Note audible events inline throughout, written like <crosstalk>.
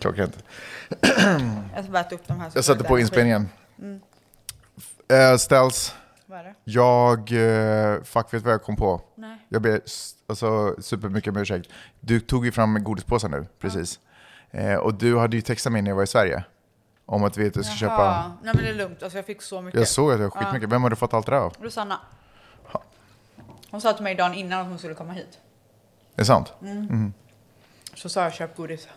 klockrent. Jag ska bara äta upp de här. som Jag satte är på där. inspelningen. Eh, ställs, Vad är det? jag... eh, Fuck, vet vad jag kom på? Nej. Jag ber s- alltså, supermycket om ursäkt. Du tog ju fram godispåsen nu, precis. Eh, och du hade ju textat mig när jag var i Sverige. Om att vi att jag ska köpa... Jaha. Nej men det är lugnt, alltså, jag fick så mycket. Jag såg att jag har skitmycket. Vem har du fått allt det där av? Rosanna. Hon sa till mig dagen innan att hon skulle komma hit. Är det sant? Så sa jag köp godis.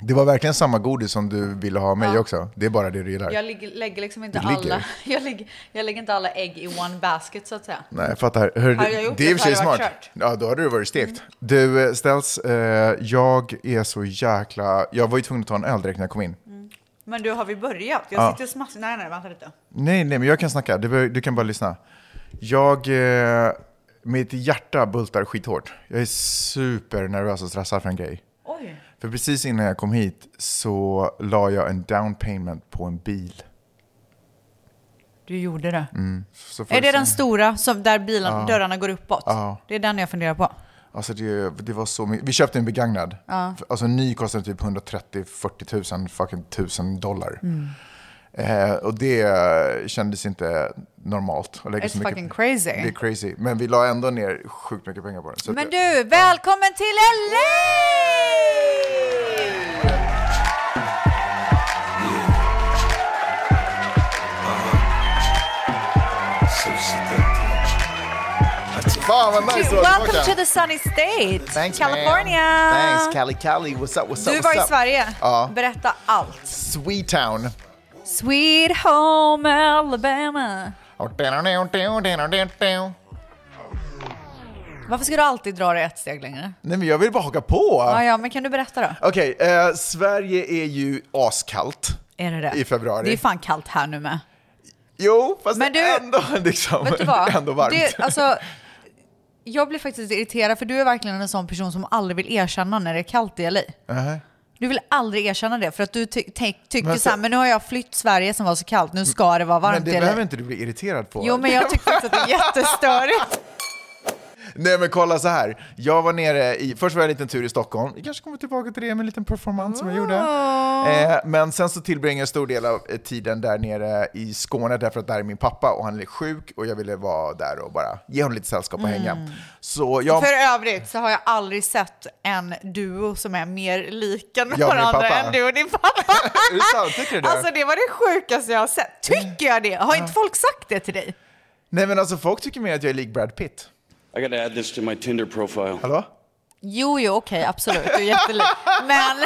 Det var verkligen samma godis som du ville ha av mig också. Det är bara det du gillar. Jag ligger, lägger liksom inte Du ligger? alla... <laughs> Jag lägger, jag lägger inte alla ägg i one basket så att säga. Nej, jag fattar. Hör, Hade jag gjort det är i och det för sig så hade smart. det varit kört. Mm. Ja, då hade du varit stekt. Du, eh, Ställs, eh, jag är så jäkla... Jag var ju tvungen att ta en öl direkt när jag kom in. Mm. Men du, har vi börjat? Jag sitter smaskig. Nej, nej, vänta lite. Nej, nej, men jag kan snacka. Du, bör- du kan bara lyssna. Jag... Eh, mitt hjärta bultar skithårt. Jag är supernervös och stressad för en grej. Oj. För precis innan jag kom hit så la jag en down payment på en bil. Du gjorde det. Så Mm, får Är du det se. den stora som, där bilen, dörrarna går uppåt? Ja. Det är den jag funderar på. Alltså det, det var så mycket. Vi köpte en begagnad. Alltså en ny kostade typ 130-40 000 fucking tusen dollar. Mm. Eh, och det kändes inte normalt. Att lägga It's fucking crazy. Det är crazy. Men vi la ändå ner sjukt mycket pengar på den. Så Men att- du, välkommen till LA! Fan vad nice det var att Welcome tillbaka. to the sunny state, Thanks, man. California! Thanks Cali Cali, what's up, what's up, Du var what's i up? Sverige. Ja. Berätta allt. Sweet town. Sweet home Alabama. Varför ska du alltid dra det ett steg längre? Nej men jag vill bara haka på. Ja, ja, men kan du berätta då? Okej, eh, Sverige är ju askallt. Är det det? I februari. Det är fan kallt här <laughs> nu med. Jo, fast Men det är du- ändå, <laughs> liksom, Vet du det är vad? ändå varmt. Det, alltså, jag blir faktiskt irriterad för du är verkligen en sån person som aldrig vill erkänna när det är kallt i LA. Du vill aldrig erkänna det för att du ty ty tycker Men så här, så- men nu har jag flytt Sverige som var så kallt, nu ska det vara varmt men det i LA. behöver inte du bli irriterad på. Jo men jag tycker faktiskt att det är jättestörigt. Nej men kolla så här. Jag var nere i, först var jag en liten tur i Stockholm, vi kanske kommer tillbaka till det med en liten performance som jag gjorde. Ah. Eh, men sen så tillbringade jag en stor del av eh, tiden där nere i Skåne därför att där är min pappa och han är sjuk och jag ville vara där och bara ge honom lite sällskap och hänga. Så jag, Mm. För övrigt så har jag aldrig sett en duo som är mer lik än min varandra pappa. än du och din pappa. <laughs> Är det sant? <laughs> Tycker du Mm. det? Alltså det var det sjukaste jag har sett. Tycker jag det? Har inte folk sagt det till dig? nej men alltså folk tycker mer att jag är lik Brad Pitt. I gotta add this to my Tinder profile. Hallå? Jo, jo, okej, absolut. Du är jättelik. Men,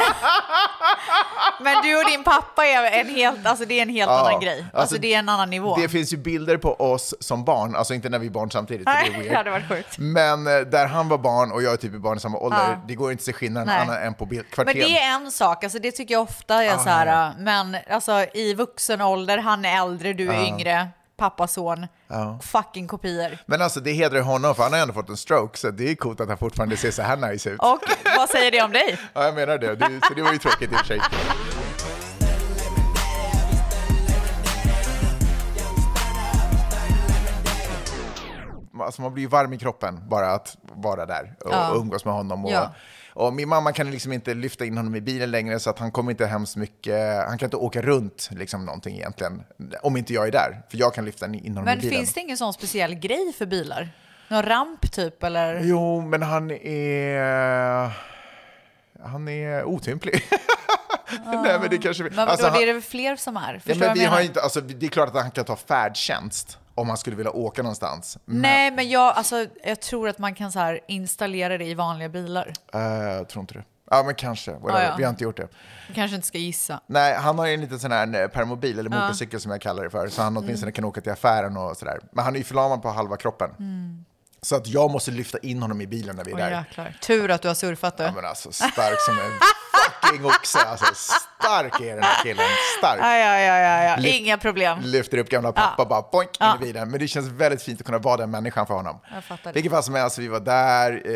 <laughs> men du och din pappa är en helt, alltså det är en helt annan grej. Alltså, alltså, det är en annan nivå. Det finns ju bilder på oss som barn, alltså inte när vi är barn samtidigt, för det är Nej, det weird. hade varit sjukt. Men eh, där han var barn och jag är typ barn i samma ålder, Ja. det går inte att se skillnaden Nej. annan än på bild, Men kvarteren. det är en sak, alltså det tycker jag ofta är så här, men alltså i vuxen ålder, han är äldre, du är yngre, pappa, son, fucking kopior. Men alltså det hedrar honom för han har ändå fått en stroke så det är coolt att han fortfarande ser så här nice ut. Och vad säger det <laughs> om dig? Ja, jag menar det. det. Så det var ju tråkigt i och för sig. Alltså man blir ju varm i kroppen bara att vara där och Ja. umgås med honom. Och, Ja. och min mamma kan liksom inte lyfta in honom i bilen längre så att han kommer inte hem så mycket. Han kan inte åka runt liksom någonting egentligen om inte jag är där. För jag kan lyfta in honom i Men bilen. finns det ingen sån speciell grej för bilar? Någon ramp typ eller? Jo, men han är... Han är otymplig. <laughs> Nej, men det kanske... Ah. Men vadå, alltså, han- det är det fler som är? Förstår Ja, du men vad jag vi har menar? inte, alltså, det är klart att han kan ta färdtjänst om han skulle vilja åka någonstans. Mm. Men Nej, men jag, alltså, jag tror att man kan så här installera det i vanliga bilar. eh, jag tror inte det. Ja, men kanske. Whatever. Ja, Mm. Ah, ja. Vi har inte gjort det. Du kanske inte ska gissa. Nej, han har ju en liten sån här eh, permobil, eller Ah. motorcykel som jag kallar det för, så han Mm. åtminstone kan åka till affären och sådär. Men han är ju förlamad på halva kroppen. Mm. Så att jag måste lyfta in honom i bilen när vi är Åh där. jäklar. Tur att du har surfat det. Ja, men alltså stark som en fucking oxe. Alltså, Stark är den här killen. Stark. Ja, ja, ja, ja, ja. Lyft- Inga problem. lyfter upp gamla pappa bara boink in Ja. i bilen. Men det känns väldigt fint att kunna vara den människan för honom. Jag fattar det. Vilket fall som helst, vi var där, eh,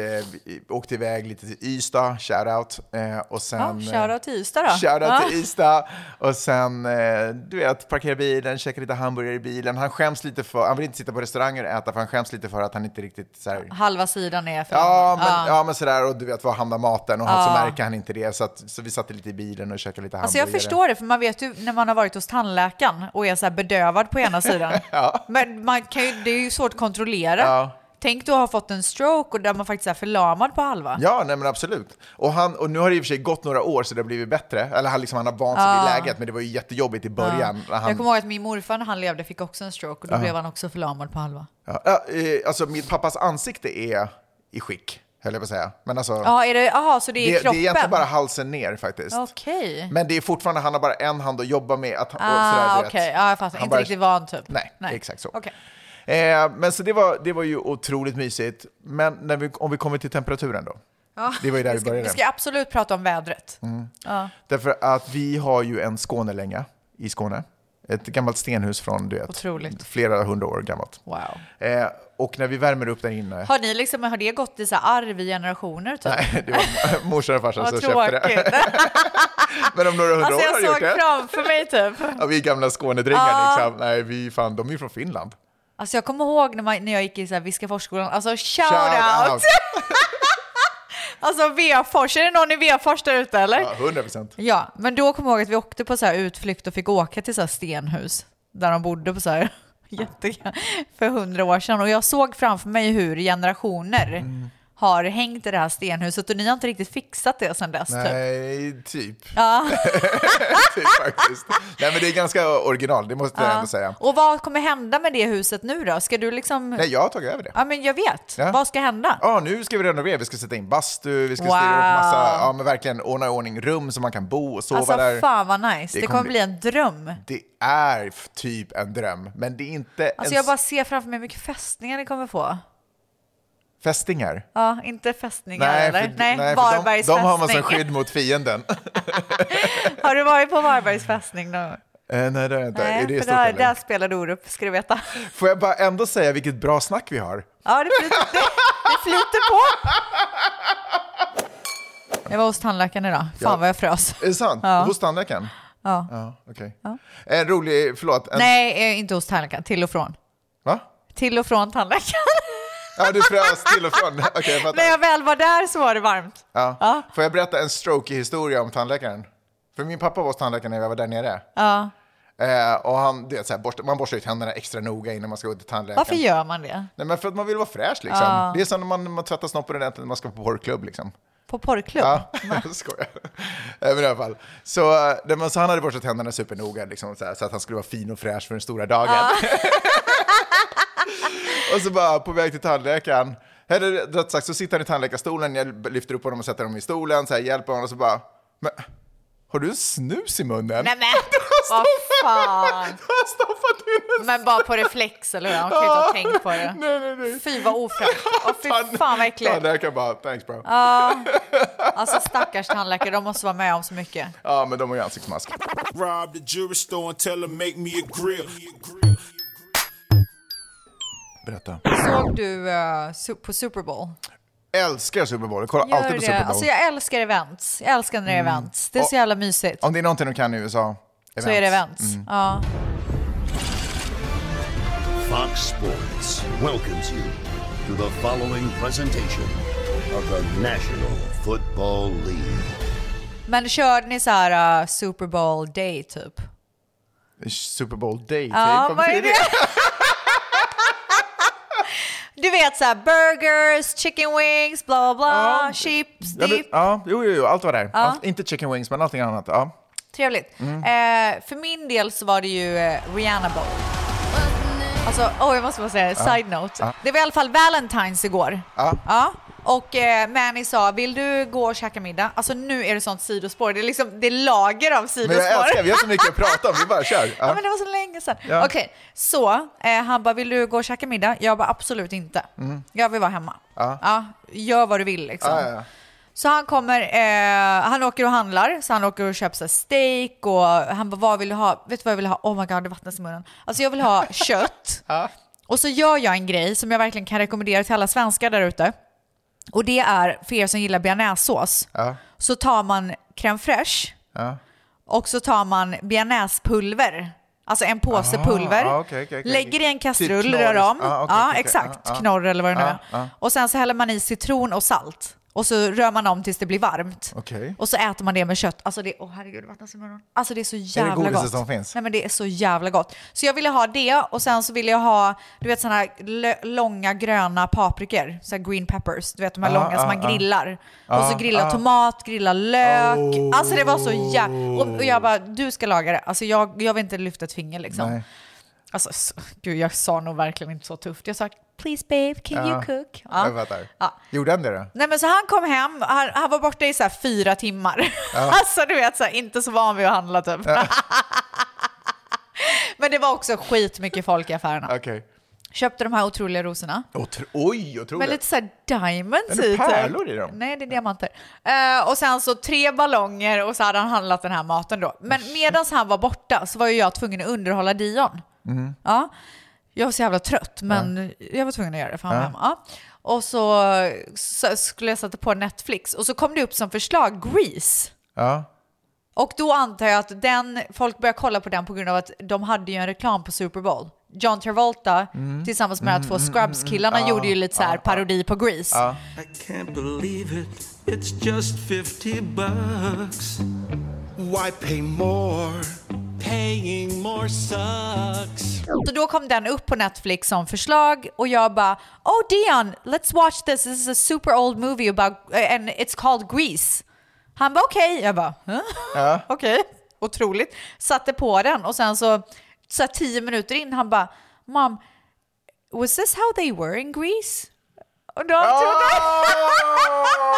vi åkte iväg lite till Ystad, shoutout. Eh, och Ja, sen... Shoutout till Ystad då. Shoutout Ja. till Ystad. Och sen, eh, du vet, parkera bilen, käka lite hamburgare i bilen. Han skäms lite för, han vill inte sitta på restauranger och äta för han skäms lite för att han inte riktigt så här, Halva sidan är för Ja lång. men, ja. men sådär, och du vet, var hamnar maten? Och han så märker han inte det. Så, att, så vi satt lite i bilen och käkade lite Alltså hamburgare. jag förstår det, för man vet ju när man har varit hos tandläkaren och är så här bedövad på <laughs> ena sidan. Men man kan ju, det är ju svårt att kontrollera. Ja. Tänk då att ha fått en stroke och där man faktiskt är förlamad på halva. Ja, nej men absolut. Och, han, och nu har det i och för sig gått några år så det har blivit bättre. Eller han, liksom, han har vant sig vid läget, men det var ju jättejobbigt i början. Ja. Jag Han, kommer ihåg att min morfar när han levde fick också en stroke och då blev han också förlamad på halva. ja, ja, eh, alltså mitt pappas ansikte är i skick, höll jag på att säga. Men alltså, Ja, är det, aha, så det är det, det är kroppen? egentligen bara halsen ner faktiskt. Okej. Men det är fortfarande, han har bara en hand att jobba med. Att, och sådär, Ah, du okej. vet. Ja, jag fattar. Han Inte bara- riktigt van typ. Nej, exakt så. Okej. Eh, men så det var, det var ju otroligt mysigt. Men när vi, om vi kommer till temperaturen då. Det Mm. var ju där vi Vi ska, började. vi ska absolut prata om vädret. Därför att vi har ju en Skånelänga i Skåne. Ett gammalt stenhus från du vet, Otroligt. flera hundra år gammalt. Wow. Eh, och när vi värmer upp där inne, Har, ni liksom, har det gått i så här arv i generationer? <laughs> Typ? det var morsan och farsan som Vad köpte tråkigt. det. Men om några hundra alltså år har jag de gjort såg det. framför mig typ. Ja, vi är gamla Skånedrängar Ja. liksom. Nej, vi fan, de är ju från Finland. Alltså jag kommer ihåg när, man, när jag gick i så här Viskaforsskolan, alltså shout, Shout out! out. Alltså Vefors, är det någon i Vefors där ute eller? Ja, 100 procent. Ja, men då kommer jag ihåg att vi åkte på så här utflykt och fick åka till så här stenhus där de bodde på så här <laughs> jätte, för hundra år sedan. Och jag såg framför mig hur generationer Mm. har hängt i det här stenhuset och ni har inte riktigt fixat det sedan dess. Typ. Nej, typ. <laughs> typ faktiskt. Nej, men det är ganska original, det måste jag ändå säga. Och vad kommer hända med det huset nu då? Ska du liksom... Nej, jag har tagit över det. Ja, men jag vet. Ja. Vad ska hända? Ja, nu ska vi renovera, vi ska sätta in bastu, vi ska styra Wow. upp massa, ja men verkligen ordna i ordning rum så man kan bo och sova Alltså där. fan vad nice. Det Det, kommer kommer bli en dröm. Det är f- typ en dröm, men det är inte ens Alltså jag bara ser framför mig hur mycket fästningar ni kommer få. fästingar. Ja, inte fästningar eller? för, nej, nej, för de, Varbergs de har man som fästning. skydd mot fienden. <laughs> Har du varit på Varbergs fästning någon gång? Eh, nej, det har jag inte. Nej, är det för stort där, eller? där spelar Orup, ska du veta. Får jag bara ändå säga vilket bra snack vi har? Ja, det flyter, det, det flyter på. Jag var hos tandläkaren idag. Fan Ja. vad jag frös. Är det sant? Ja. Hos tandläkaren? Ja. Ja, okej. En rolig, förlåt. En, Nej, eh, inte hos tandläkaren. Till och från. Va? Till och från tandläkaren. <laughs> Ja, du frös till och från. Okej, jag fattar. När jag väl var där så var det varmt. Ja. Får jag berätta en stroke-historia om tandläkaren? För min pappa var hos tandläkaren när jag var där nere. Ja. Eh, och han, du vet, så här, borst, man borstar ju tänderna extra noga innan man ska gå till tandläkaren. Varför gör man det? Nej, men för att man vill vara fräsch liksom. Det är som när man, man tvättar snoppen ordentligt när man ska på porrklubb liksom. På porrklubb? Ja, <laughs> jag skojar. Eh, Men i alla fall. Så, eh, nej, men så han hade borstat tänderna supernoga liksom, så, här, så att han skulle vara fin och fräsch för den stora dagen. <laughs> och så bara på väg till tandläkaren. Eller rätt sagt så sitter han i tandläkarstolen, jag lyfter upp honom och sätter honom i stolen, så här, hjälper honom och så bara, men, har du en snus i munnen? <laughs> Nej men, vad fan. Jag har stoppat in en Men bara på reflex eller hur? Han kan ju inte ha tänkt på det. Nej, nej, nej. Fy vad ofräscht. Och fy Fan- fan vad äckligt. Tandläkaren bara, thanks bro. Alltså stackars tandläkare, de måste vara med om så mycket. Ja, men de har ju ansiktsmask. Rob the jewelry store and tell him make me a grill. grill. Berätta. Såg du eh, su- på Super Bowl? Älskar Super Bowl, jag kollar Gör alltid på det. Super Bowl. Mm. Alltså jag älskar events. Jag älskar när det är events. Det är så jävla mysigt. Om det är någonting de kan i USA, Så är det events. Mm. Ja. Fox Sports welcomes you to the following presentation of the National Football League. Men körde ni så här eh, Super Bowl day typ? Super Bowl day. typ. Ja, Varför vad är det? Du vet så här burgers, chicken wings, bla bla bla, Ja. chips, Ja, det, dip. ja, jo, jo, jo, allt var där. Allt, inte chicken wings, men allting annat. Ja. Trevligt. Mm. Eh, för min del så var det ju eh, Rihanna Bowl. Alltså, oh, jag måste bara säga, side note. Det var i alla fall Valentine's igår. Ja. Och eh, Manny sa, vill du gå och käka middag? Alltså nu är det sånt sidospår. Det är liksom, det är lager av Men sidospår. jag älskar, vi har så mycket att prata om, vi bara kör. Ja, Ja. men det var så länge sedan. Ja. Okej, så eh, han bara, vill du gå och käka middag? Jag bara, absolut inte. Jag vill vara hemma. Mm. Ja. gör vad du vill liksom. Ja, ja, ja. Så han kommer, eh, han åker och handlar, så han åker och köper så här steak och han bara, vad vill du ha? Vet du vad jag vill ha? Oh my god, det vattnas i munnen. Alltså jag vill <laughs> ha kött. Och så gör jag en grej som jag verkligen kan rekommendera till alla svenskar där ute. Och det är, för er som gillar bearnaisesås, så tar man crème fraîche och så tar man bearnaisepulver. Alltså en påse Aha, pulver. ja, Ah, okej, okej, okej. lägger i en kastrull, Typ knorr. rör om. Ja, okej, ja, okej, Ah, okej. exakt. Ja, ja. Knorr eller vad det nu är. Ja, ja. Och sen så häller man i citron och salt. Och så rör man om tills det blir varmt. Okej. Och så äter man det med kött. Alltså det, åh herregud, det vattnas i munnen. Alltså det är så jävla gott. godiset som finns? Nej men det är så jävla gott. Så jag ville ha det och sen så ville jag ha, du vet sådana här lö- långa gröna paprikor. Så här green peppers. Du vet de här långa som ah, man ah. grillar. och så grilla tomat, grilla lök. Oh. Alltså det var så jävla... Och, och jag bara, du ska laga det. Alltså jag, jag vill inte lyfta ett finger liksom. Nej. Alltså, s- gud, jag sa nog verkligen inte så tufft. Jag sa “Please babe, can you cook?” Jag fattar. Ja. Gjorde han det då? Nej men så han kom hem, han, han var borta i så här fyra timmar. <laughs> alltså du vet, så här, inte så van vid att handla typ. <laughs> men det var också skitmycket folk i affärerna. Okej. Köpte de här otroliga rosorna. Otro- Oj, otroligt. Med lite så här diamonds Är det i. typ. pärlor i dem? Nej, det är diamanter. Eh, och sen så tre ballonger och så hade han handlat den här maten då. Men medan han var borta så var ju jag tvungen att underhålla Dion. Mhm. Ja. Jag var så jävla trött, men jag var tvungen att göra det för han var hemma. Ja. Och så, så skulle jag sätta på Netflix och så kom det upp som förslag Grease. Ja. Och då antar jag att den, folk började kolla på den på grund av att de hade ju en reklam på Super Bowl. John Travolta Mm. tillsammans med de här två Scrubs-killarna gjorde ju lite så här parodi på Grease. I can't believe it. It's just 50 bucks. Why pay more? Paying more sucks. Så då kom den upp på Netflix som förslag och jag bara Oh Dion, let's watch this. This is a super old movie about, eh, and it's called Grease. Han bara okej. Jag bara huh? <laughs> okej, otroligt. Satte på den och sen så, så här, tio minuter in han bara Mom, was this how they were in Grease? Och då Ah, trodde <laughs>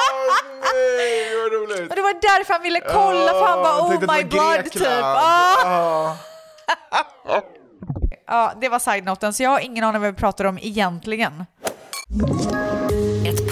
nej, vad roligt. <laughs> Och det var därför han ville kolla för han bara Åh, Ah, oh tänkte my att det var blood typ. Grekland. Ah. Ja. Ja, det var side-noten så jag har ingen aning vad vi pratar om egentligen. Ett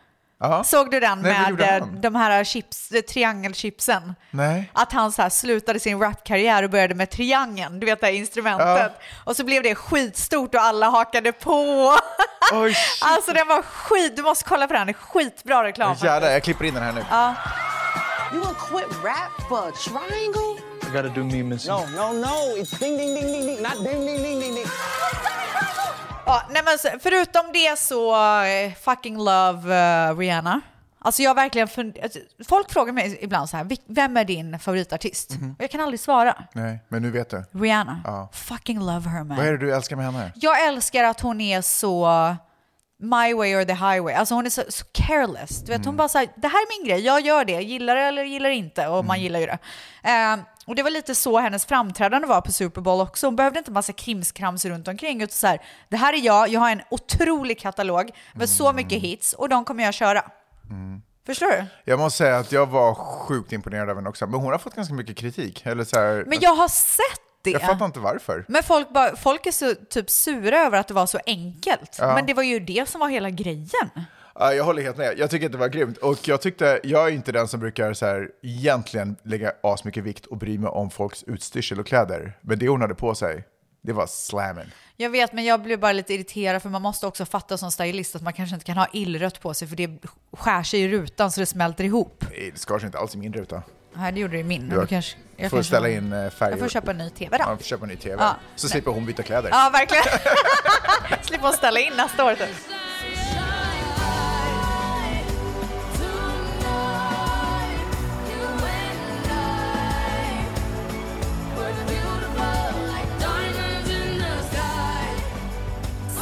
Såg du den Nej, vad gjorde med eh, han? de här chips, eh, triangelchipsen? Nej. Att han så här slutade sin rapkarriär och började med triangeln, du vet det här instrumentet. Och så blev det skitstort och alla hakade på. <laughs> Ah, Oj, shit. Alltså den var skit, du måste kolla på den, skitbra reklam. Jävlar, jag klipper in den här nu. You gonna quit rap for a triangle? I gotta do me missing. No, no, no. It's ding, ding, ding, ding, ding. Not ding, ding, ding, ding, ding. Ja, nej men så- förutom det så eh, fucking love eh, Rihanna. Alltså jag verkligen fund- alltså, Folk frågar mig ibland så här, "Vil- vem är din favoritartist? Mhm. Och jag kan aldrig svara. Nej, men nu vet du. Rihanna. Fucking love her man. Vad är det du älskar med henne? Jag älskar att hon är så my way or the highway. Alltså hon är så, så careless. Du vet, Mm. Hon bara säger det här är min grej, jag gör det, jag gillar det eller gillar det inte. Och Mm. man gillar ju det. Eh, och det var lite så hennes framträdande var på Super Bowl också. Hon behövde inte massa krimskrams runt omkring. Utan så här, det här är jag, jag har en otrolig katalog med så Mm. mycket hits och de kommer jag köra. Förstår du? Jag måste säga att jag var sjukt imponerad av henne också. Men hon har fått ganska mycket kritik. Eller så här, Men jag har sett det. jag fattar inte varför. Men folk, bara, folk är så typ sura över att det var så enkelt. Men det var ju det som var hela grejen. Ja, jag håller helt med. Jag tycker att det var grymt. Och jag tyckte, jag är inte den som brukar så här, egentligen lägga asmycket vikt och bry mig om folks utstyrsel och kläder. Men det hon hade på sig, det var slammen. Jag vet, men jag blir bara lite irriterad för man måste också fatta som stylist att man kanske inte kan ha illrött på sig för det skär sig i rutan så det smälter ihop. Nej, Det skar sig inte alls i min ruta. Nej, det gjorde det i min. men Du du kanske, jag får kanske ställa har- in eh, färger. Jag får köpa en ny tv då. Ja, får köpa en ny tv. Ja, Så slipper hon byta kläder. Ja, verkligen. <laughs> Slipper hon ställa in nästa år. typ.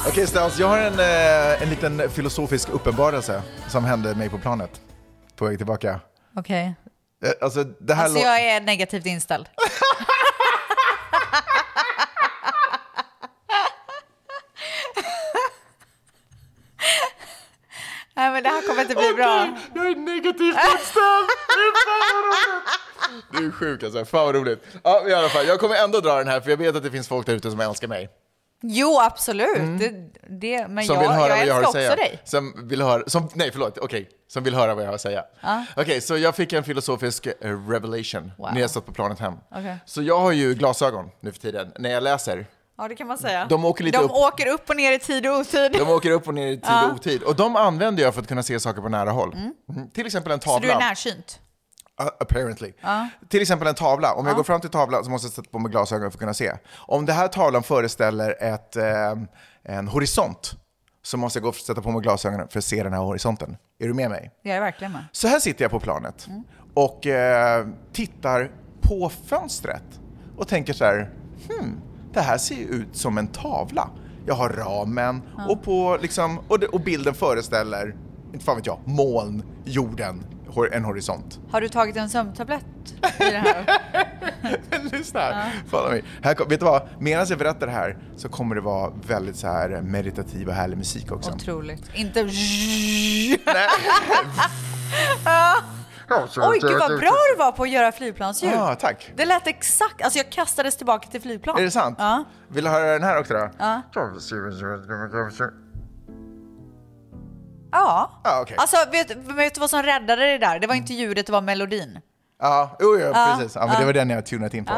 Okej Stans, jag har en, eh, en liten filosofisk uppenbarelse som hände mig på planet. på väg tillbaka. Okej. Eh, Alltså, det här Alltså lå- jag är negativt inställd. <laughs> Nej men det här kommer inte bli bra. Jag är negativt inställd! Du är sjuk alltså, fan vad roligt. Ja, men i alla fall, jag kommer ändå dra den här för jag vet att det finns folk där ute som älskar mig. Jo absolut. Det, det, men Mm. Som jag, vill höra jag vad jag har att älskar säga. också dig. Som vill höra, som, nej förlåt, okej. Som vill höra vad jag har att säga. Okej, så jag fick en filosofisk eh, revelation Wow. när jag satt på planet hem. Okej. Så jag har ju glasögon nu för tiden när jag läser. Ja det kan man säga. De åker lite De upp. åker upp och ner i tid och otid. De åker upp och ner i tid och otid. Och de använder jag för att kunna se saker på nära håll. Mhm. Till exempel en tavla. Mm. Så du är närsynt. Uh, apparently. Till exempel en tavla. Om jag går fram till tavlan så måste jag sätta på mig glasögon för att kunna se. Om den här tavlan föreställer ett, ehm, en horisont så måste jag gå och sätta på mig glasögonen för att se den här horisonten. Är du med mig? Jag är verkligen med. Så här sitter jag på planet och eh, tittar på fönstret och tänker så här, hmm, det här ser ju ut som en tavla. Jag har ramen och, på, liksom, och, det, och bilden föreställer, inte fan vet jag, moln, jorden, hor- en horisont. Har du tagit en sömntablett i det här? <laughs> Lyssna här. Follow me. här kom, vet du vad? Medan jag berättar det här så kommer det vara väldigt så här meditativ och härlig musik <laughs> också. Otroligt. Inte... Nej. Oj, gud vad bra du var på att göra flygplansljud. Ja, tack. Det lät exakt, alltså jag kastades tillbaka till flygplan. Är det sant? Ja. Vill du höra den här också då? Ja. Ja. Ja, Ah, okej. Alltså vet, vet du vad som räddade det där? Det var inte ljudet, det var melodin. Ja, jo, jo, precis. Ja, men Det var den jag har tunat in på.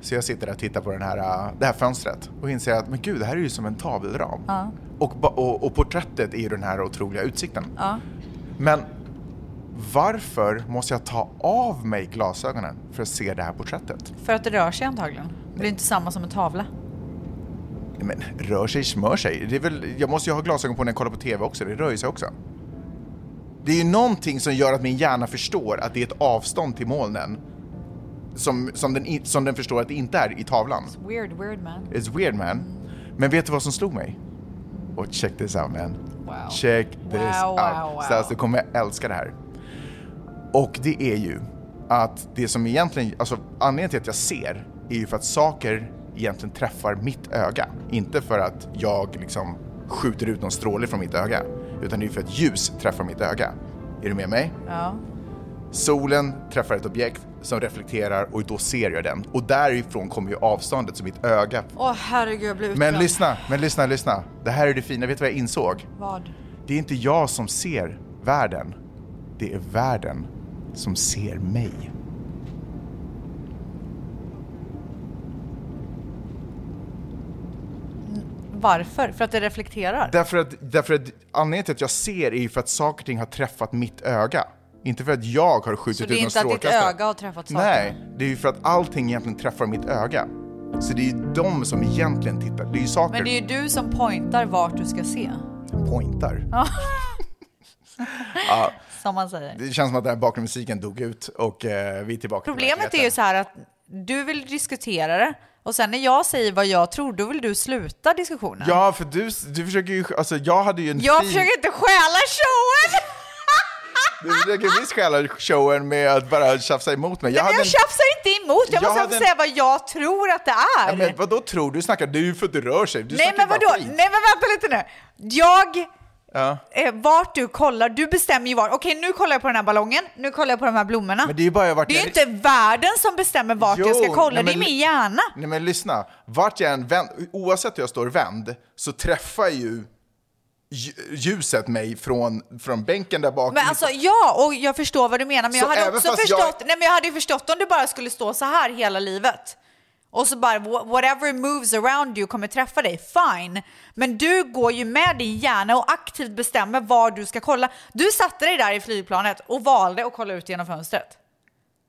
Så jag sitter där och tittar på den här, äh, det här fönstret och inser att men gud, det här är ju som en tavelram. Och, ba- och, och porträttet är ju den här otroliga utsikten. Men varför måste jag ta av mig glasögonen för att se det här porträttet? För att det rör sig antagligen. Det blir inte samma som en tavla. Nej, Men rör sig, smör sig. Det är väl, jag måste ju ha glasögon på när jag kollar på TV också, det rör ju sig också. Det är ju någonting som gör att min hjärna förstår att det är ett avstånd till molnen som, som, den, i- som den förstår att det inte är i tavlan. Weird, weird man. It's weird man. Men vet du vad som slog mig? Och check this out man. Wow. Check this Wow, out. wow, wow. Så alltså, du kommer älska det här. Och det är ju att det som egentligen, alltså anledningen till att jag ser är ju för att saker egentligen träffar mitt öga. Inte för att jag liksom skjuter ut någon stråle från mitt öga. Utan det är för att ljus träffar mitt öga. Är du med mig? Ja. Solen träffar ett objekt som reflekterar och då ser jag den. Och därifrån kommer ju avståndet som mitt öga Åh herregud, jag blir utbränd. men lyssna, men lyssna, lyssna. Det här är det fina. Vet du vad jag insåg? Vad? Det är inte jag som ser världen. Det är världen som ser mig. Varför? För att det reflekterar? Därför att, därför att anledningen till att jag ser är ju för att saker och ting har träffat mitt öga. Inte för att jag har Så skjutit det ut är någon inte att ditt strålkastare. öga har träffat saker? typ Nej, det är ju för att allting egentligen träffar mitt öga. Så det är ju de som egentligen tittar. Det är ju saker Men det är ju du som pointar vart du ska se. som pointar. Som man säger. Det känns som att den här bakgrundsmusiken dog ut och eh, vi är tillbaka Problemet till är ju så här att du vill diskutera det och sen när jag säger vad jag tror, då vill du sluta diskussionen. Ja, för du, du försöker ju... Alltså jag hade ju en jag fin... försöker inte stjäla showen! Du försöker visst stjäla showen med att bara tjafsa emot mig. Men jag en- tjafsar inte emot, Jag jag, måste hade få en- säga vad jag tror att det är. Ja, men vadå tror du? snackar? Det är ju för att du rör sig. Du Nej snackar men bara vadå, skit. nej men vänta lite nu. Jag, Ja. eh, vart du kollar, du bestämmer ju var. Okej nu kollar jag på den här ballongen, nu kollar jag på de här blommorna. Men det är ju bara jag varit... Det är ju inte världen som bestämmer vart Jo, jag ska kolla, nej, men- det är min hjärna. Nej men lyssna, vart jag än vänd, oavsett hur jag står vänd så träffar ju lj- ljuset mig från, från bänken där bak. Men alltså ja, och jag förstår vad du menar. Mm. Men Så jag hade även också fast förstått, jag- nej men jag hade ju förstått om du bara skulle stå så här hela livet. Och så bara wha- whatever moves around you kommer träffa dig, fine. Men du går ju med din hjärna och aktivt bestämmer var du ska kolla. Du satte dig där i flygplanet och valde att kolla ut genom fönstret.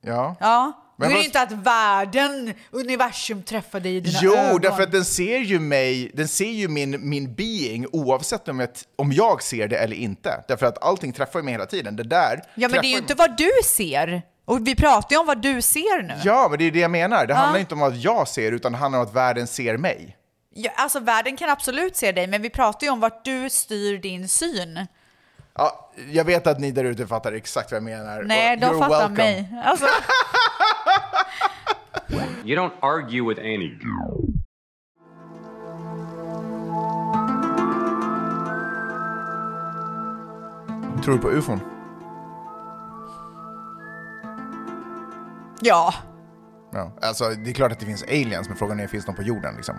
Ja. Ja, Men men då är vad- det inte att världen, universum träffar dig i dina Jo, ögon. därför att den ser ju mig, den ser ju min, min being oavsett om jag, t- om jag ser det eller inte. Därför att allting träffar ju mig hela tiden. Det där Ja, men det är ju träffar inte vad du ser. Och vi pratar ju om vad du ser nu. Ja, men det är det jag menar. Det handlar inte om att jag ser, utan det handlar om att världen ser mig. Ja, alltså världen kan absolut se dig, men vi pratar ju om vart du styr din syn. Ja, jag vet att ni där ute fattar exakt vad jag menar. Nej, och de you're fattar welcome. mig. <laughs> Alltså, You don't argue with Annie. Tror du på ufon? ja. Ja. Alltså, det är klart att det finns aliens, men frågan är finns de på jorden liksom?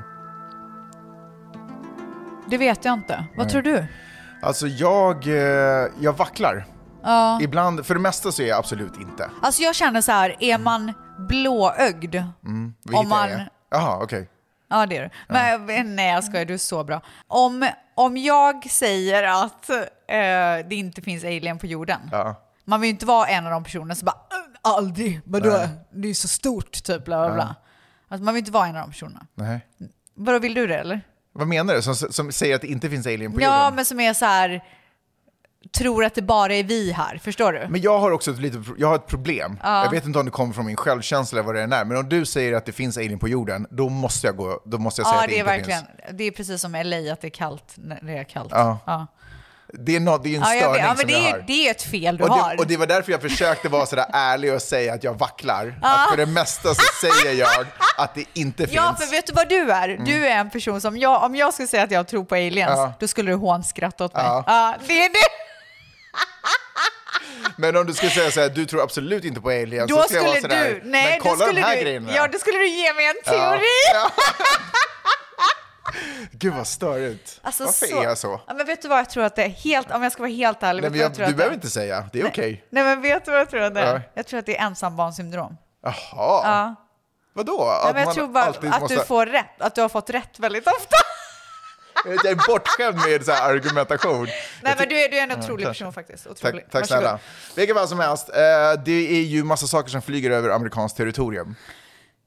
Det vet jag inte. Vad tror du? Alltså jag, eh, jag vacklar. Ja. Ibland, för det mesta så är jag absolut inte. Alltså jag känner så här, är man blåögd? Vilket Om man- jag är. Jaha, okej. Ja, det är du. Men eh, nej, jag skojar. Du är så bra. Om, om jag säger att eh, det inte finns alien på jorden. Man vill ju inte vara en av de personerna som bara "Äh, aldrig, vadå? Det är så stort, typ bla bla bla. Alltså, man vill inte vara en av de personerna. Nej. Vadå, vill du det eller? Vad menar du? Som, som säger att det inte finns alien på Ja, jorden? men som är så här, tror att det bara är vi här. Förstår du? Men jag har också ett, litet, jag har ett problem. Jag vet inte om det kommer från min självkänsla eller vad det än är, men om du säger att det finns alien på jorden, då måste jag, gå, då måste jag säga Ja, att det, det är inte verkligen. finns. Det är precis som LA, att det är kallt när det är kallt. Ja. ja. Det är, no, det är en Ja, jag störning vet. ja men som det jag är, har. det är ett fel du och, har. det, och det var därför jag försökte vara sådär ärlig och säga att jag vacklar. Att för det mesta så säger jag att det inte <laughs> Ja, finns. Mm. för vet du vad du är? Du är en person som, jag, om jag skulle säga att jag tror på aliens, Ja. då skulle du hånskratta åt mig. Ja. Ja. det är det. Men om du skulle säga såhär, du tror absolut inte på aliens, Då så skulle jag skulle vara sådär, du, nej, men då kolla skulle de här du, grejerna. ja, då skulle du ge mig en teori. Gud vad störigt. Alltså, Varför är jag så? Ja, men vet du vad jag tror att det är? Helt, om jag ska vara helt ärlig. Nej, vet men vad jag, tror att du det behöver är? inte säga, det är okej. Nej, men vet du vad jag tror att det är? Ja. Jag tror att det är ensambarnssyndrom. Jaha. Vadå? Nej, Att men jag man tror bara att alltid du får rätt, att du har fått rätt väldigt ofta. Jag är bortskämd med så här argumentation. Nej, men du är, du är en otrolig person faktiskt. Otrolig. Tack, tack Varsågod. snälla. Vilket fall som helst, eh, det är ju massa saker som flyger över amerikanskt territorium.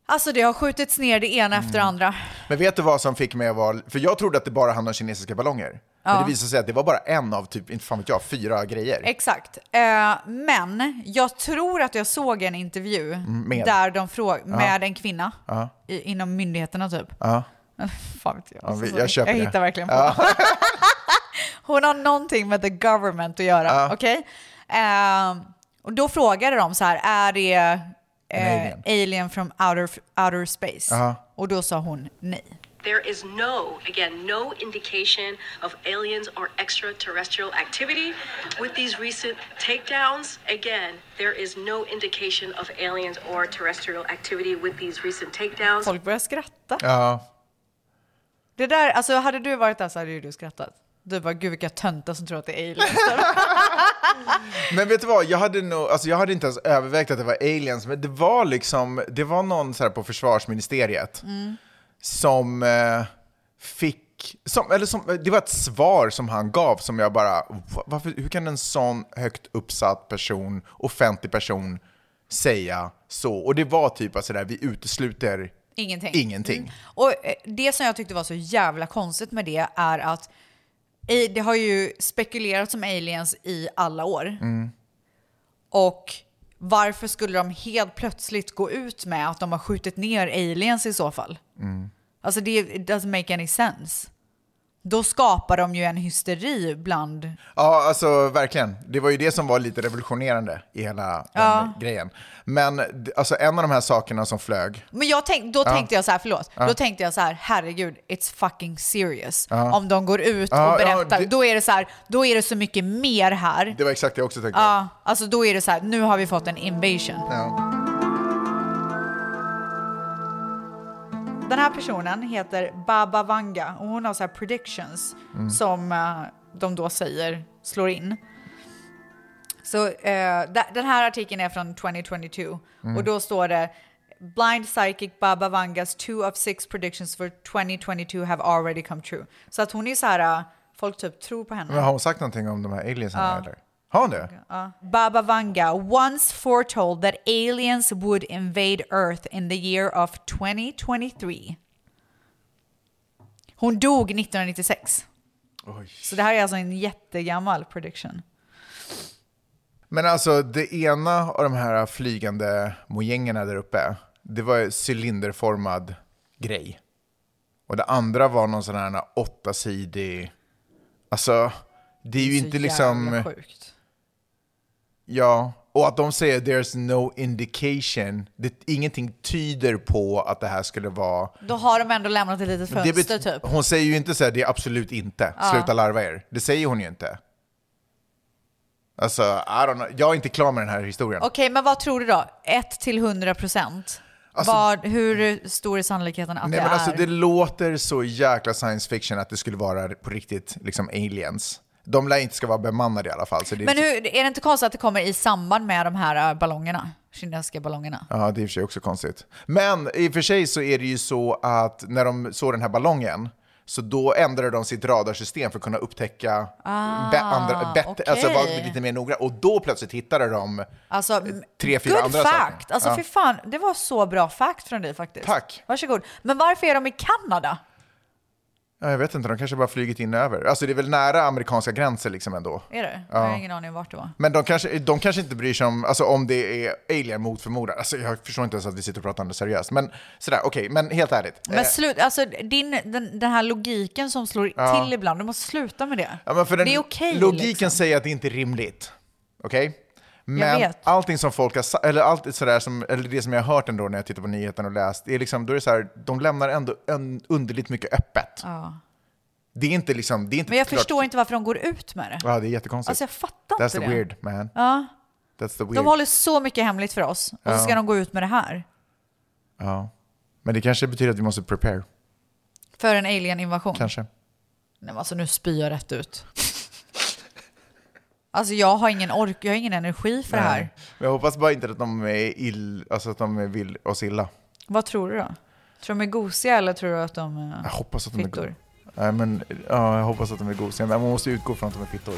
Alltså det har skjutits ner det ena efter Mm. det andra. Men vet du vad som fick mig att vara... För jag trodde att det bara handlade om kinesiska ballonger. Men det visade sig att det var bara en av typ, inte fan vet jag, fyra grejer. Exakt. Eh, men jag tror att jag såg en intervju Mm, med? där de fråg med en kvinna i, inom myndigheterna typ. Fan vet jag. vi- jag köper det. hittar verkligen på. <laughs> Hon har någonting med the government att göra. Okej? Eh, och då frågade de så här, är det eh, alien. alien. from outer, outer space? Och då sa hon nej. There is no, again, no indication of aliens or extraterrestrial activity. With these recent takedowns, again, there is no indication of aliens or terrestrial activity with these recent takedowns. Folk började skratta. Ja. Det där, alltså hade du varit där så hade ju du skrattat. Du bara, gud vilka töntar som tror att det är aliens. Men vet du vad, jag hade, nog, alltså jag hade inte ens övervägt att det var aliens, men det var liksom, det var någon så här på försvarsministeriet som eh, fick, som, eller som, det var ett svar som han gav som jag bara, "Va- varför, hur kan en sån högt uppsatt person, offentlig person, säga så? Och det var typ att sådär, vi utesluter Ingenting. ingenting. Och eh, det som jag tyckte var så jävla konstigt med det är att i- det har ju spekulerats om aliens i alla år. Och varför skulle de helt plötsligt gå ut med att de har skjutit ner aliens i så fall? Alltså det it doesn't make any sense. Då skapar de ju en hysteri bland... Ja, alltså verkligen. Det var ju det som var lite revolutionerande i hela den grejen. Men d- alltså, en av de här sakerna som flög, Men jag tänk, då tänkte jag så här, förlåt. Då tänkte jag så här, herregud, it's fucking serious. Om de går ut Ja, och ja, berättar, det- då är det så här, då är det så mycket mer här. det var exakt det jag också tänkte. Ja, alltså då är det så här, nu har vi fått en invasion. Ja. Den här personen heter Baba Vanga och hon har så här predictions som eh, de då säger slår in. Så eh, da- den här artikeln är från 2022 och då står det Blind psychic Baba Vangas two of six predictions for 2022 have already come true. Så att hon är så här, eh, folk typ tror på henne. Men har hon sagt någonting om de här aliensen eller? Har hon det? Baba Vanga once foretold that aliens would invade Earth in the year of 2023. Hon dog 1996. Oj. Så det här är alltså en jättegammal prediction. Men alltså det ena av de här flygande mojängerna där uppe, det var ju cylinderformad grej. Och det andra var någon sån här åttasidig, alltså Det är ju Så inte jävla liksom... Sjukt. Ja, och att de säger “there's no indication”, det, ingenting tyder på att det här skulle vara... Då har de ändå lämnat ett litet Det bet- fönster typ. Hon säger ju inte så här, det är absolut inte, sluta larva er. Det säger hon ju inte. Alltså, I don't know. jag är inte klar med den här historien. Okej, men vad tror du då? 1 till 100 procent? Alltså- Vad- hur stor är sannolikheten att Nej, det men är? alltså, det låter så jäkla science fiction att det skulle vara på riktigt liksom aliens. De lär inte ska vara bemannade i alla fall. Så det är Men hur, är det inte konstigt att det kommer i samband med de här äh, ballongerna? Kinesiska ballongerna? Ja, det är i och för sig också konstigt. Men i och för sig så är det ju så att när de såg den här ballongen så då ändrade de sitt radarsystem för att kunna upptäcka ah, andra, bättre, Ah, okej. alltså var lite mer noga. Och då plötsligt hittade de... Alltså, m- Eh, tre, fyra good andra fact! saker. Alltså Ja. fy fan, det var så bra fact från dig faktiskt. Tack. Varsågod. Men varför är de i Kanada? Ja, jag vet inte, de kanske bara flugit in över. Alltså det är väl nära amerikanska gränser liksom ändå. Är det? Jag har ingen aning om vart det var. Men de kanske, de kanske inte bryr sig om, alltså om det är alien mot förmodan. Alltså jag förstår inte ens att vi sitter och pratar om det seriöst. Men sådär, okej, men helt ärligt. Men slut, alltså din, den, den här logiken som slår till ibland, du måste sluta med det. Ja, men för den det är okej. logiken liksom. säger att det inte är rimligt. Okej? Jag Men vet. allting som folk har sa- eller allt sådär som, eller det som jag har hört ändå när jag tittar på nyheten och läst, det är liksom, då är det så här, de lämnar ändå en, underligt mycket öppet. Det är inte liksom, det är inte Men jag klart- förstår inte varför de går ut med det. Ja, det är jättekonstigt. Alltså jag fattar That's inte the det. weird man. That's the weird. De håller så mycket hemligt för oss och så ska de gå ut med det här. Men det kanske betyder att vi måste prepare, För en alien-invasion. kanske. Nej men alltså nu spyr jag rätt ut. Alltså jag har ingen ork, jag har ingen energi för det här. Men jag hoppas bara inte att de är ill, alltså att de vill oss illa. Vad tror du då? Tror de är gosiga eller tror du att de är Jag hoppas att de är fittor? Nej, men, ja, jag hoppas att de är gosiga, men man måste utgå från att de är fittor.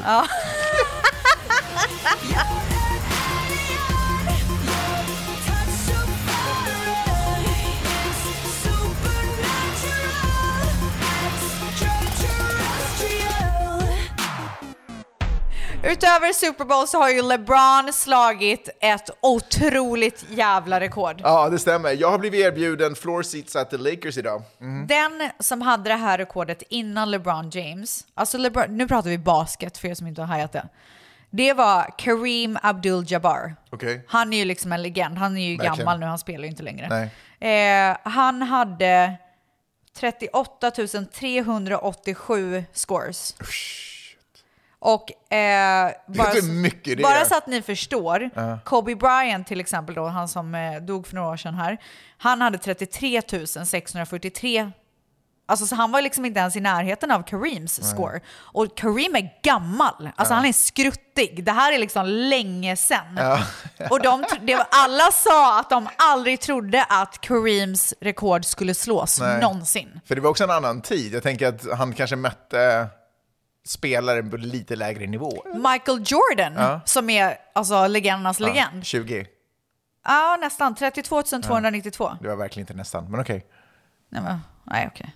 Utöver Super Bowl så har ju LeBron slagit ett otroligt jävla rekord. Ja, det stämmer. Jag har blivit erbjuden floor seats at the Lakers idag. Den som hade det här rekordet innan LeBron James, alltså LeBron, nu pratar vi basket för er som inte har hajat det. Det var Kareem Abdul-Jabbar. Okej. Han är ju liksom en legend. Han är ju Verkligen. gammal nu, han spelar ju inte längre. Eh, han hade 38 387 scores. Och eh, bara, hur så- mycket det är. bara så att ni förstår, Kobe Bryant till exempel då, han som eh, dog för några år sedan här, han hade 33 643 Alltså, så han var liksom inte ens i närheten av Kareems score. Och Kareem är gammal. Alltså han är skruttig. Det här är liksom länge sedan. Och de, tr- det var, alla sa att de aldrig trodde att Kareems rekord skulle slås någonsin. För det var också en annan tid. Jag tänker att han kanske mötte spelare på lite lägre nivå. Mm. Michael Jordan, som är alltså legendernas legend. 20. Ja, nästan. 32 292. Det var verkligen inte nästan, men okej. Nej, men, nej okej.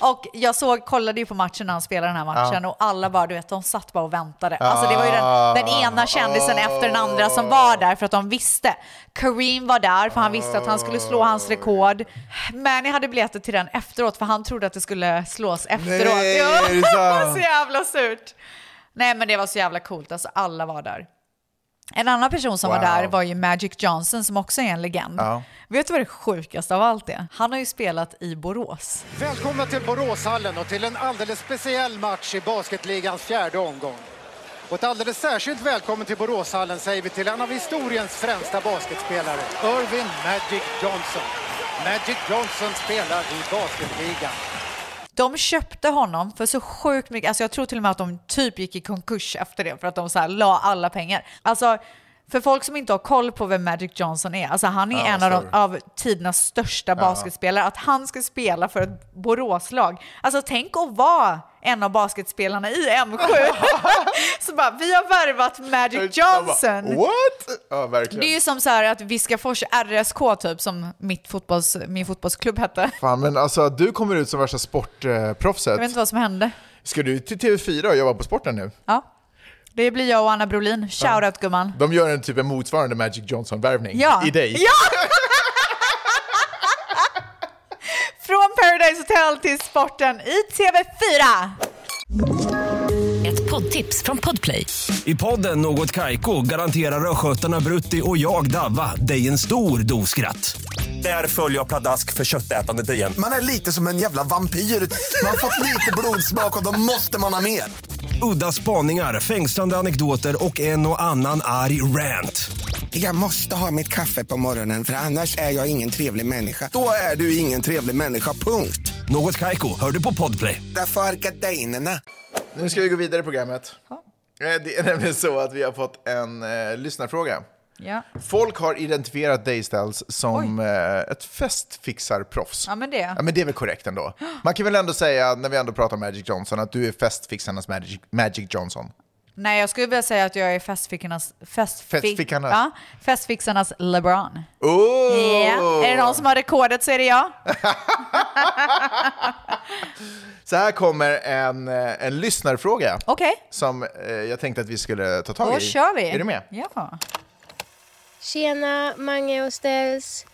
Och jag såg, kollade ju på matchen när han spelade den här matchen och alla bara, du vet, de satt bara och väntade. Alltså det var ju den, den Ah. ena kändisen efter den andra som var där för att de visste. Kareem var där för han visste att han skulle slå hans rekord. Manny hade biljetter till den efteråt för han trodde att det skulle slås efteråt. Nej, <laughs> Ja, är det det var sant? så jävla surt. Nej men det var så jävla coolt, alltså alla var där. En annan person som var Wow. där var ju Magic Johnson som också är en legend. Vet du vad det sjukaste av allt är? Han har ju spelat i Borås. Välkomna till Boråshallen och till en alldeles speciell match i basketligans fjärde omgång. Och ett alldeles särskilt välkommen till Boråshallen säger vi till en av historiens främsta basketspelare, Irvin Magic Johnson. Magic Johnson spelar i basketligan. De köpte honom för så sjukt mycket, alltså jag tror till och med att de typ gick i konkurs efter det för att de så här la alla pengar. Alltså för folk som inte har koll på vem Magic Johnson är, alltså han är en av, de, av tidernas största basketspelare, att han ska spela för ett Boråslag. Alltså tänk att vara en av basketspelarna i M7. <laughs> <laughs> så bara, vi har värvat Magic Jag Johnson. bara, What? Ja, verkligen. Det är ju som så här att Viskafors RSK typ, som mitt fotbolls, min fotbollsklubb hette. Fan, men alltså att du kommer ut som värsta Jag vet sportproffset. inte vad som hände. Ska du till TV4 och jobba på sporten nu? Ja. Det blir jag och Anna Brolin. Shoutout gumman. De gör en typ en motsvarande Magic Johnson-värvning Ja. i dig. Ja! Från Paradise Hotel till sporten i TV4. Ett tips från Podplay. I podden Något Kaiko garanterar östgötarna Brutti och jag, Davva, dig en stor dos skratt. Där följer jag pladask för köttätandet igen. Man är lite som en jävla vampyr. Man har fått lite blodsmak och då måste man ha mer. Udda spaningar, fängslande anekdoter och en och annan arg rant. Jag måste ha mitt kaffe på morgonen för annars är jag ingen trevlig människa. Då är du ingen trevlig människa, punkt. Något Kaiko, hör du på podplay. Därför är gardinerna. Nu ska vi gå vidare i programmet. Eh, Det är nämligen så att vi har fått en eh, lyssnarfråga. Ja. Folk har identifierat Daystyles som eh, ett festfixarproffs. ja, men det. Ja, men det är väl korrekt ändå. Man kan väl ändå säga, när vi ändå pratar om Magic Johnson, att du är festfixarnas Magic, Magic Johnson. Nej, jag skulle vilja säga att jag är festfickarnas... Festfi- Festfickarnas. Ja, festfixarnas LeBron. Oh! Ja. Är det någon som har rekordet så är det jag. Så här kommer en, eh, en lyssnarfråga. Okej. Som eh, jag tänkte att vi skulle ta tag i. Då kör vi. Är du med? Ja. Tjena Mange och Stels.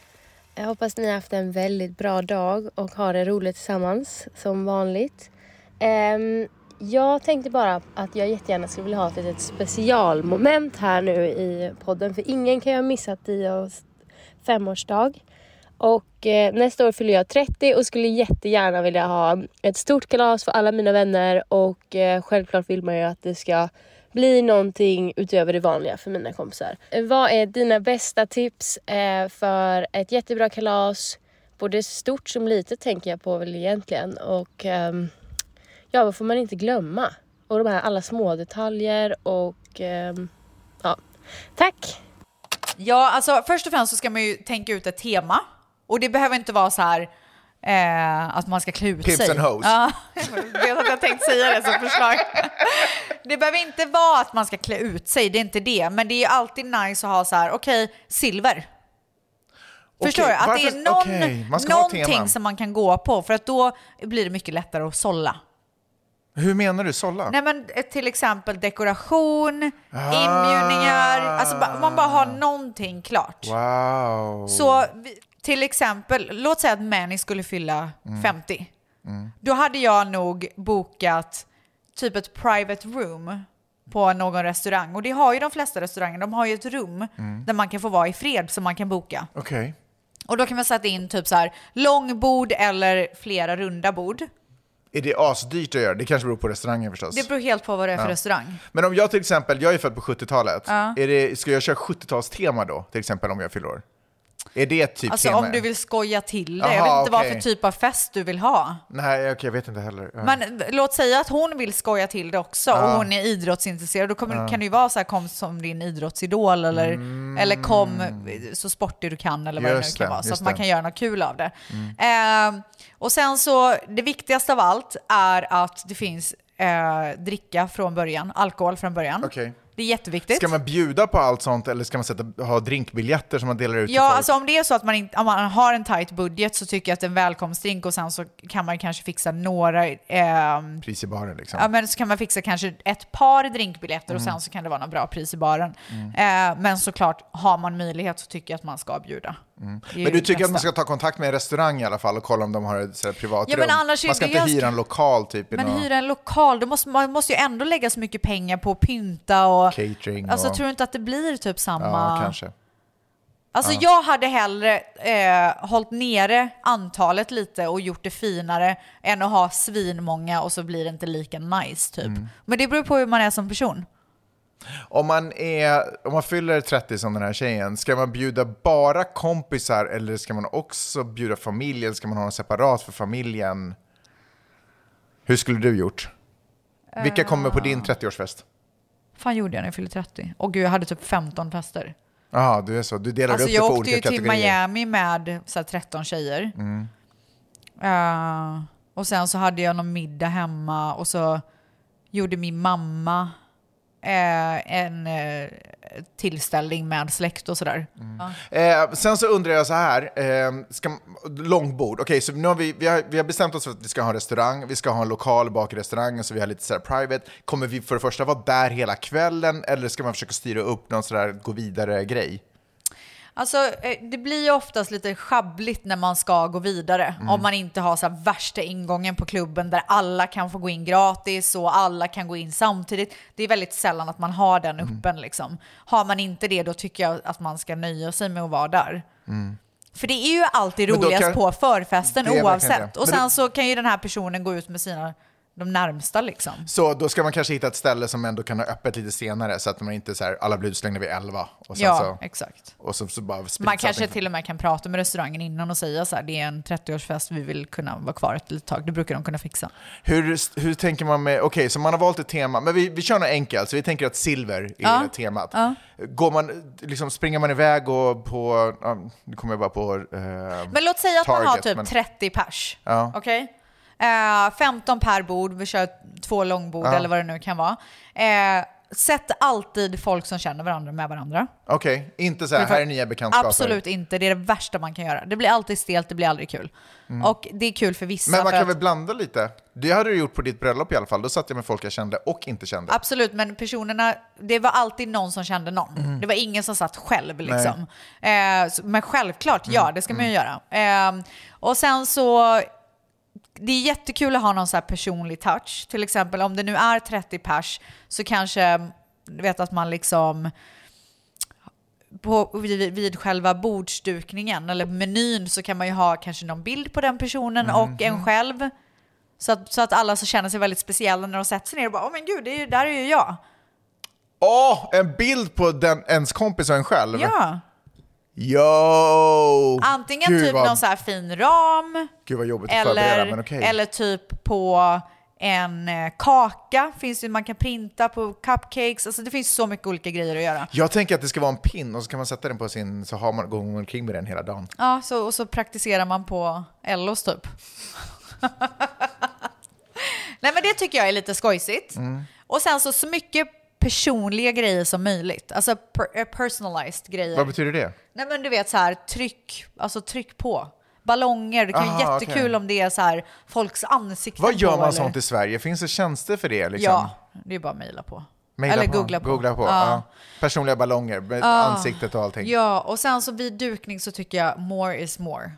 Jag hoppas ni har haft en väldigt bra dag och har det roligt tillsammans som vanligt. Ehm, jag tänkte bara att jag jättegärna skulle vilja ha ett litet specialmoment här nu i podden för ingen kan ju ha missat Dios femårsdag. Och eh, nästa år fyller jag 30 och skulle jättegärna vilja ha ett stort kalas för alla mina vänner och eh, självklart vill man ju att det ska bli någonting utöver det vanliga för mina kompisar. Eh, Vad är dina bästa tips eh, för ett jättebra kalas? Både stort som litet tänker jag på väl egentligen och ehm, ja, vad får man inte glömma? Och de här alla små detaljer och ehm, ja. Tack! Ja, alltså först och främst så ska man ju tänka ut ett tema. Och det behöver inte vara så här eh, att man ska klä ut Pimps sig. and hoes. <laughs> Ja, jag vet att jag tänkte säga det som förslag. Det behöver inte vara att man ska klä ut sig, det är inte det. Men det är ju alltid nice att ha så här, okej, silver. Förstår du? Okej, Att det varför- är någon, okej, man ska ha någonting teman. som man kan gå på, för att då blir det mycket lättare att sålla. Hur menar du sålla? Nej men eh, till exempel dekoration, Ah. inbjudningar, alltså ba- man bara har någonting klart. Wow. Så vi- till exempel, låt säga att Manny skulle fylla Mm. 50. Mm. Då hade jag nog bokat typ ett private room på någon restaurang. Och det har ju de flesta restauranger. De har ju ett rum Mm. där man kan få vara i fred som man kan boka. Okej. Och då kan man sätta in typ så här långbord eller flera runda bord. Är det asdyrt att göra? Det kanske beror på restaurangen förstås. Det beror helt på vad det är för Ja. restaurang. Men om jag till exempel, jag är född på 70-talet, Ja. är det, ska jag köra 70-talstema då? Till exempel om jag fyller år? Är det ett typ alltså tema? om du vill skoja till det. jag Jaha, vet inte vad okej. för typ av fest du vill ha. Nej, okej, jag vet inte heller. Ja. Men låt säga att hon vill skoja till det också och Ja. hon är idrottsintresserad. Då kommer, Ja. Mm. kan det ju vara så här, kom som din idrottsidol eller, eller kom så sportig du kan eller vad Just det nu det, kan vara. Så just att man det. Mm. kan göra något kul av det. Ehm, och sen så, det viktigaste av allt är att det finns eh, dricka från början, alkohol från början. Okej. Det är jätteviktigt. Ska man bjuda på allt sånt eller ska man sätta, ha drinkbiljetter som man delar ut till Ja, folk? alltså om det är så att man, inte, om man har en tight budget så tycker jag att en välkomstdrink och sen så kan man kanske fixa några... ehm, Pris i baren liksom. Ja, men så kan man fixa kanske ett par drinkbiljetter och Mm. sen så kan det vara något bra pris i baren. Mm. Eh, men såklart, har man möjlighet så tycker jag att man ska bjuda. Mm. Det Men är ju du tycker att man bästa. ska ta kontakt med en restaurang i alla fall och kolla om de har ett så här, privat Ja, rum? men annars är man ska det inte ganska- hyra en lokal typ? i Men någon hyra en lokal, då måste, man måste ju ändå lägga så mycket pengar på att pynta och... catering? Alltså och... tror du inte att det blir typ samma... Ja, kanske. Alltså Ja. jag hade hellre eh, hållit nere antalet lite och gjort det finare än att ha svinmånga och så blir det inte lika nice typ. Mm. Men det beror på hur man är som person. Om man, är, om man fyller 30 som den här tjejen, ska man bjuda bara kompisar eller ska man också bjuda familjen? Ska man ha något separat för familjen? Hur skulle du gjort? Vilka kommer på Eh. din 30-årsfest? fan gjorde jag när jag fyllde 30? Och gud, jag hade typ 15 fester. Jaha, du är så. Du delar Alltså upp det på jag åkte olika ju till kategorier. Miami med så här, 13 tjejer. Mm. Eh, och sen så hade jag någon middag hemma och så gjorde min mamma eh, en eh, tillställning med släkt och sådär. Ja. Eh, sen så undrar jag så här, eh, ska, långbord. Okej, så nu har vi, vi, har, vi har bestämt oss för att vi ska ha en restaurang, vi ska ha en lokal bak i restaurangen så vi har lite så här private. Kommer vi för det första vara där hela kvällen eller ska man försöka styra upp någon så där gå vidare-grej? Alltså, eh, det blir ju oftast lite schabbligt när man ska gå vidare. Mm. Om man inte har så här värsta ingången på klubben där alla kan få gå in gratis och alla kan gå in samtidigt. Det är väldigt sällan att man har den Mm. öppen. Liksom. Har man inte det, då tycker jag att man ska nöja sig med att vara där. Mm. För det är ju alltid Men då roligast kan- på förfesten Det är verkligen oavsett. det. Och Men sen det- så kan ju den här personen gå ut med sina, de närmsta liksom. Så då ska man kanske hitta ett ställe som ändå kan ha öppet lite senare så att man inte så här, alla blir utslängda vid 11. Och sen Ja, så, exakt. Och så, Typ så liksom. bara sprids Man kanske allting. till och med kan prata med restaurangen innan och säga så här, det är en 30-årsfest, vi vill kunna vara kvar ett litet tag. Det brukar de kunna fixa. Hur, hur tänker man med, okej så man har valt ett tema, men vi, vi kör något enkelt, så vi tänker att silver är Ja, temat. ja. Går man, liksom, springer man iväg och på, ja, nu kommer jag bara på eh, Men låt säga att man har Target, typ men- 30 pers. Ja. Okej? Eh, 15 per bord, vi kör två långbord Ja. eller vad det nu kan vara. Eh, sätt alltid folk som känner varandra med varandra. Okej, inte så här, För- här är nya bekantskaper. Absolut inte, det är det värsta man kan göra. Det blir alltid stelt, det blir aldrig kul. Mm. Och det är kul för vissa. Men man för kan att- väl blanda lite? Det hade du gjort på ditt bröllop i alla fall, då satt jag med folk jag kände och inte kände. Absolut, men personerna, det var alltid någon som kände någon. Mm. Det var ingen som satt själv liksom. Eh, så- men självklart, Mm. ja, det ska man ju göra. Eh, och sen så, det är jättekul att ha någon så här personlig touch. Till exempel om det nu är 30 pers så kanske, du vet att man liksom, på, vid, vid själva bordsdukningen eller menyn så kan man ju ha kanske någon bild på den Mm. personen och en själv. Så att, så att alla så känner sig väldigt speciella när de sätter sig ner och bara åh men gud, det är ju, där är ju jag. Åh, en bild på den, ens kompis och en själv. Ja. Yo! Antingen Gud, typ vad- någon så här fin ram. Gud vad jobbigt att förbereda, men Eller, okej. eller typ på en eh, kaka. Finns det, man kan printa på cupcakes. Alltså det finns så mycket olika grejer att göra. Jag tänker att det ska vara en pin och så kan man sätta den på sin, så har man, går man omkring med den hela dagen. Ja, så, och så praktiserar man på Ellos typ. <laughs> Nej men det tycker jag är lite skojsigt. Mm. Och sen så, så mycket personliga grejer som möjligt. Alltså per, eh, personalized grejer. Vad betyder det? Nej men du vet så här, tryck, alltså tryck på. Ballonger, det kan vara Aha, jättekul okej. om det är så här folks ansikten Vad gör på, man eller? sånt i Sverige? Finns det tjänster för det? Liksom? Ja, det är bara att mejla på. Mejla eller googla på. Googla på. Ja. Ja. Personliga ballonger med Ja. ansiktet och allting. Ja, och sen så vid dukning så tycker jag more is more.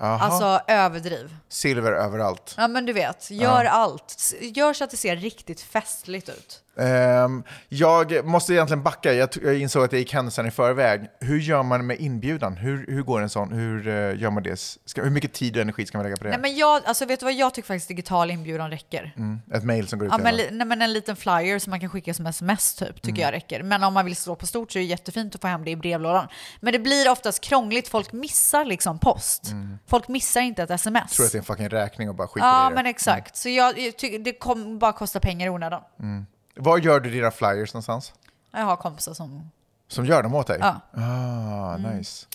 Aha. Alltså överdriv. Silver överallt. Ja men du vet, gör Ja. allt. S- Gör så att det ser riktigt festligt ut. Ehm, jag måste egentligen backa, jag, t- jag insåg att jag gick händelsen i förväg. Hur gör man med inbjudan? Hur, hur går en sån? Hur eh, gör man det? Ska, hur mycket tid och energi ska man lägga på det? Nej men jag, alltså vet du vad, jag tycker faktiskt digital inbjudan räcker. mm, ett mejl som går ut Ja, till men, alla. li- nej, men en liten flyer som man kan skicka som sms typ, tycker Mm. jag räcker. Men om man vill slå på stort så är det jättefint att få hem det i brevlådan. Men det blir oftast krångligt, folk missar liksom post. Mm. Folk missar inte ett sms. Tror att det är en fucking räkning och bara skiter ja i det. men exakt, så jag, jag tycker det kommer bara kosta pengar i onödan. Mm. Var gör du dina flyers någonstans? Jag har kompisar som... Som gör dem åt dig? Ja. Ah, Mm. nice.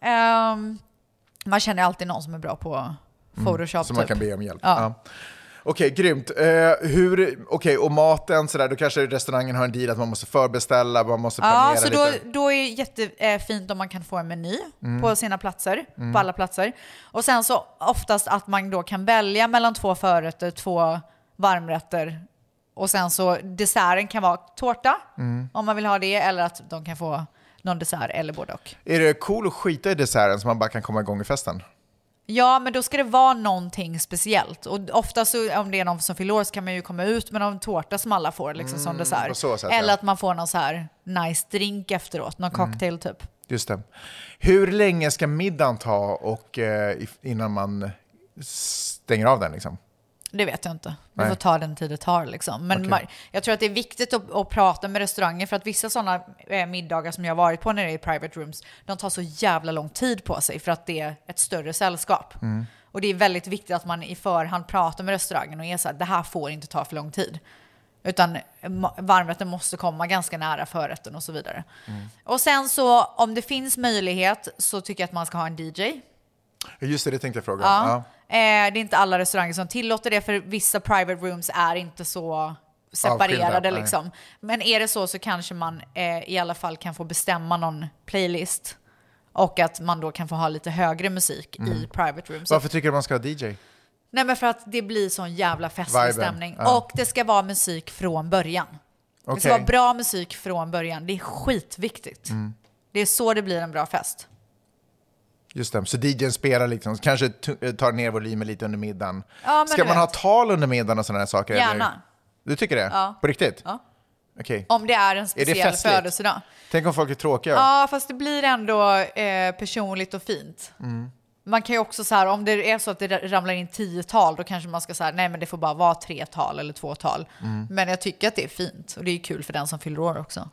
Ehm, man känner alltid någon som är bra på Photoshop Som Mm. man kan typ. be om hjälp. Ja. Ja. Okej, grymt. Eh, hur, okej, och maten, sådär, då kanske restaurangen har en deal att man måste förbeställa, man måste planera Ja, så då, lite. då är det jättefint om man kan få en meny Mm. på sina platser, Mm. på alla platser. Och sen så oftast att man då kan välja mellan två förrätter, två varmrätter och sen så desserten kan vara tårta Mm. om man vill ha det eller att de kan få någon dessert eller både och. Är det cool att skita i desserten så man bara kan komma igång i festen? Ja, men då ska det vara någonting speciellt. Och ofta så, om det är någon som fyller år så kan man ju komma ut med någon tårta som alla får liksom, som Mm, på dessert. så sätt, eller ja. att man får någon så här nice drink efteråt, någon Mm. cocktail typ. Just det. Hur länge ska middagen ta och, eh, if- innan man stänger av den? Liksom? Det vet jag inte. Det Nej. får ta den tid det tar. Liksom. Men Okej. man, jag tror att det är viktigt att, att prata med restauranger för att vissa sådana eh, middagar som jag har varit på när det är private rooms, de tar så jävla lång tid på sig för att det är ett större sällskap. Mm. Och det är väldigt viktigt att man i förhand pratar med restaurangen och är så här, det här får inte ta för lång tid. Utan ma- varmrätten måste komma ganska nära förrätten och så vidare. Mm. Och sen så om det finns möjlighet så tycker jag att man ska ha en DJ. Just det, det tänkte jag fråga. Ja. Ja. Eh, det är inte alla restauranger som tillåter det för vissa private rooms är inte så Avskilda, separerade nej. liksom. Men är det så så kanske man eh, i alla fall kan få bestämma någon playlist. Och att man då kan få ha lite högre musik i Mm. private rooms. Varför tycker du man ska ha DJ? Nej men för att det blir sån jävla festlig Viben, stämning. ja. Och det ska vara musik från början. Det ska Okej. vara bra musik från början. Det är skitviktigt. Mm. Det är så det blir en bra fest. Just det, så DJn spelar liksom, kanske t- tar ner volymen lite under middagen. Ja, men Ska du man vet. ha tal under middagen och sådana här saker? Gärna. Du tycker det? Ja. På riktigt? Ja. Okej. Om det är en det speciell festligt? födelsedag. Tänk om folk är tråkiga? Ja, fast det blir ändå eh, personligt och fint. Mm. Man kan ju också så här, om det är så att det ramlar in tio tal, då kanske man ska säga nej men det får bara vara tre tal eller två tal. Mm. Men jag tycker att det är fint och det är ju kul för den som fyller år också.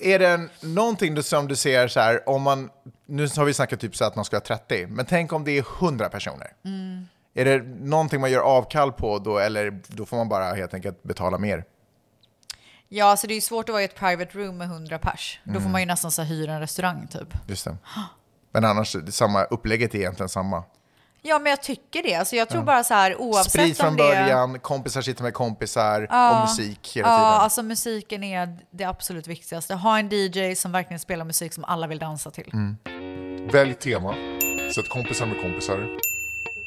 Är det en, någonting du- som du ser så här, om man, nu har vi snackat typ så att man ska ha 30, men tänk om det är 100 personer. Mm. Är det någonting man gör avkall på då, eller då får man bara helt enkelt betala mer? Ja, så det är ju svårt att vara i ett private room med hundra pers. Då får Mm. man ju nästan så här, hyra en restaurang typ. Just <gasps> det. Men annars, det är samma, upplägget är egentligen samma. Ja, men jag tycker det. Alltså, jag tror Ja. bara så här oavsett Sprit från om det... början, kompisar sitter med kompisar Ja. och musik hela ja, tiden. alltså musiken är det absolut viktigaste. Ha en DJ som verkligen spelar musik som alla vill dansa Mm. till. Välj tema. Sätt kompisar med kompisar.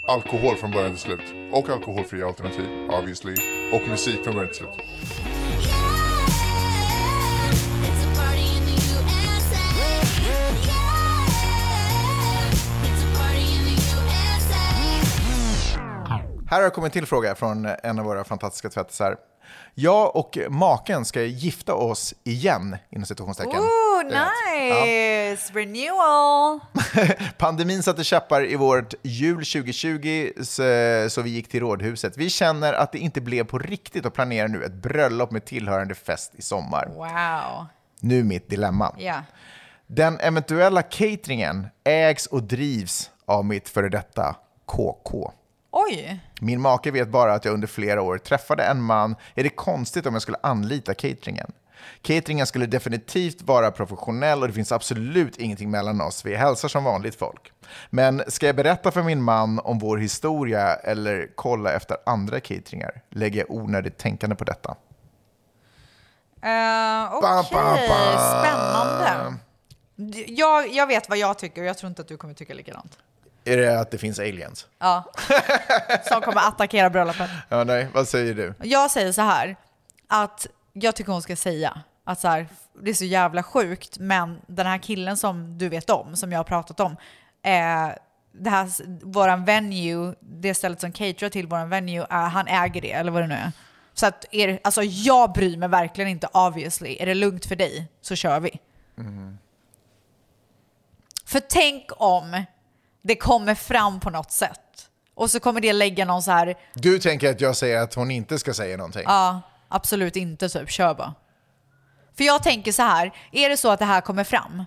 Alkohol från början till slut. Och alkoholfria alternativ, obviously. Och musik från början till slut. Här har kommit en till fråga från en av våra fantastiska tvättisar. Jag och maken ska gifta oss igen, inom citationstecken. Ooh, Det är rätt. nice! Renewal! Pandemin satte käppar i vårt jul 2020 så, så vi gick till Rådhuset. Vi känner att det inte blev på riktigt och planerar nu ett bröllop med tillhörande fest i sommar. Wow. Nu mitt dilemma. Ja. Den eventuella cateringen ägs och drivs av mitt före detta KK. Oj! Min make vet bara att jag under flera år träffade en man. Är det konstigt om jag skulle anlita cateringen? Cateringen skulle definitivt vara professionell och det finns absolut ingenting mellan oss. Vi hälsar som vanligt folk. Men ska jag berätta för min man om vår historia eller kolla efter andra cateringar? Lägger jag onödigt tänkande på detta? Uh, Okej, Bam, bam, bam. spännande. D- Jag, jag vet vad jag tycker och jag tror inte att du kommer tycka likadant. Är det att det finns aliens? Ja. Som kommer attackera bröllopet. Ja, nej, vad säger du? Jag säger så här, att jag tycker hon ska säga att så här, det är så jävla sjukt, men den här killen som du vet om, som jag har pratat om, eh, det här, våran venue, det stället som caterar till våran venue, eh, han äger det, eller vad det nu är. Så att, är, det- alltså jag bryr mig verkligen inte obviously. Är det lugnt för dig så kör vi. För tänk om det kommer fram på något sätt. Och så kommer det lägga någon så här, Du tänker att jag säger att hon inte ska säga någonting? Ja, absolut inte typ. Kör bara. För jag tänker så här, är det så att det här kommer fram,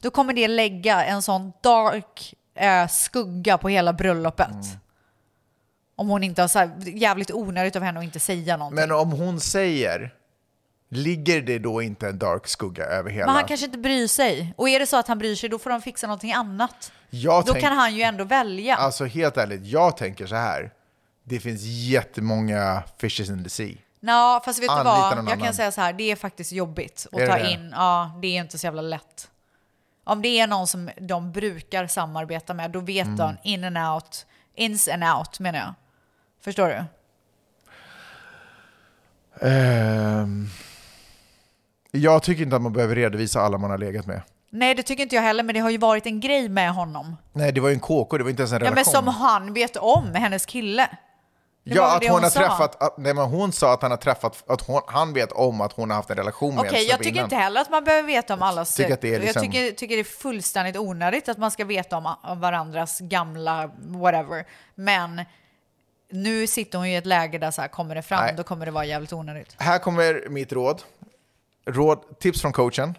då kommer det lägga en sån dark eh, skugga på hela bröllopet. Mm. Om hon inte har så här, jävligt onödigt av henne att inte säga någonting. Men om hon säger, ligger det då inte en dark skugga över hela? Men han kanske inte bryr sig. Och är det så att han bryr sig, då får de fixa någonting annat. Jag då tänk- kan han ju ändå välja. Alltså helt ärligt, jag tänker så här. Det finns jättemånga fishes in the sea. Nå, fast vet du Anlita vad? någon Jag kan annan. säga så här, det är faktiskt jobbigt att Är ta det det? in. Ja, det är inte så jävla lätt. Om det är någon som de brukar samarbeta med, då vet Mm. de in and out, ins and out menar jag. Förstår du? Ehm, jag tycker inte att man behöver redovisa alla man har legat med. Nej, det tycker inte jag heller, men det har ju varit en grej med honom. Nej, det var ju en KK, det var inte ens en Ja, men relation. som han vet om, hennes kille. det var ja, väl att det hon, hon har sa. träffat... Att, nej, men hon sa att han har träffat... Att hon, han vet om att hon har haft en relation med Okej, en jag snubbe tycker innan. inte heller att man behöver veta om allas... tycker att det är liksom- Jag tycker, tycker det är fullständigt onödigt att man ska veta om, om varandras gamla whatever. Men nu sitter hon ju i ett läge där så här, kommer det fram, Nej. då kommer det vara jävligt onödigt. Här kommer mitt råd. råd tips från coachen.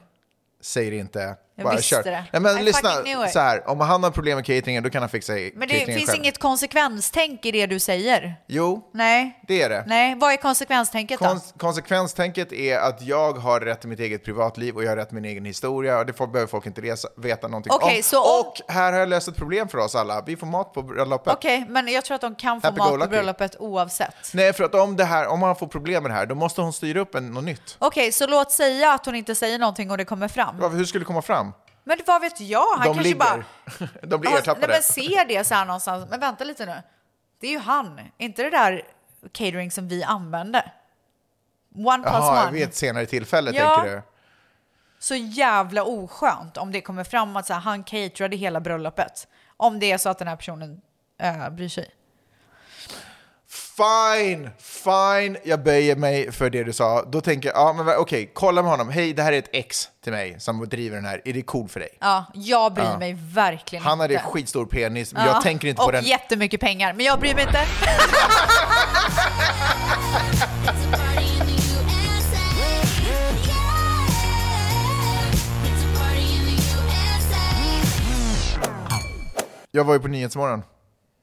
Säg det inte. Jag bara visste kör. det. Nej, men I lyssna. fucking knew it. Så här, om han har problem med cateringen, då kan han fixa Men det cateringen finns själv. inget konsekvenstänk i det du säger. Jo, Nej, det är det. nej. Vad är konsekvenstänket då? Kon- konsekvenstänket är att jag har rätt till mitt eget privatliv och jag har rätt till min egen historia och det får, behöver folk inte resa, veta någonting Okej, om. så om- Och här har jag löst ett problem för oss alla. Vi får mat på bröllopet. Okej, men jag tror att de kan få Happy go mat på lucky. bröllopet oavsett. Nej, för att om, det här, om han får problem med det här, då måste hon styra upp en, något nytt. Okej, så låt säga att hon inte säger någonting och det kommer fram. Varför- Hur skulle det komma fram? Men vad vet jag? Han De kanske ligger. bara... <laughs> De blir Ja, Alltså, nej, ertappade. men ser det så här någonstans. Men vänta lite nu. Det är ju han, inte det där catering som vi använde. One plus Jaha, one. vid ett senare tillfälle Ja. tänker du? så jävla oskönt om det kommer fram att så här, han caterade hela bröllopet. Om det är så att den här personen äh, bryr sig. Fine, fine, jag böjer mig för det du sa. Då tänker jag, ja men va- okej, kolla med honom. Hej, det här är ett ex till mig som driver den här. Är det cool för dig? Ja, jag bryr Ja. mig verkligen Han hade inte. skitstor penis, men Ja, jag tänker inte och på den. jättemycket pengar, men jag bryr mig inte. <laughs> Jag var ju på Nyhetsmorgon.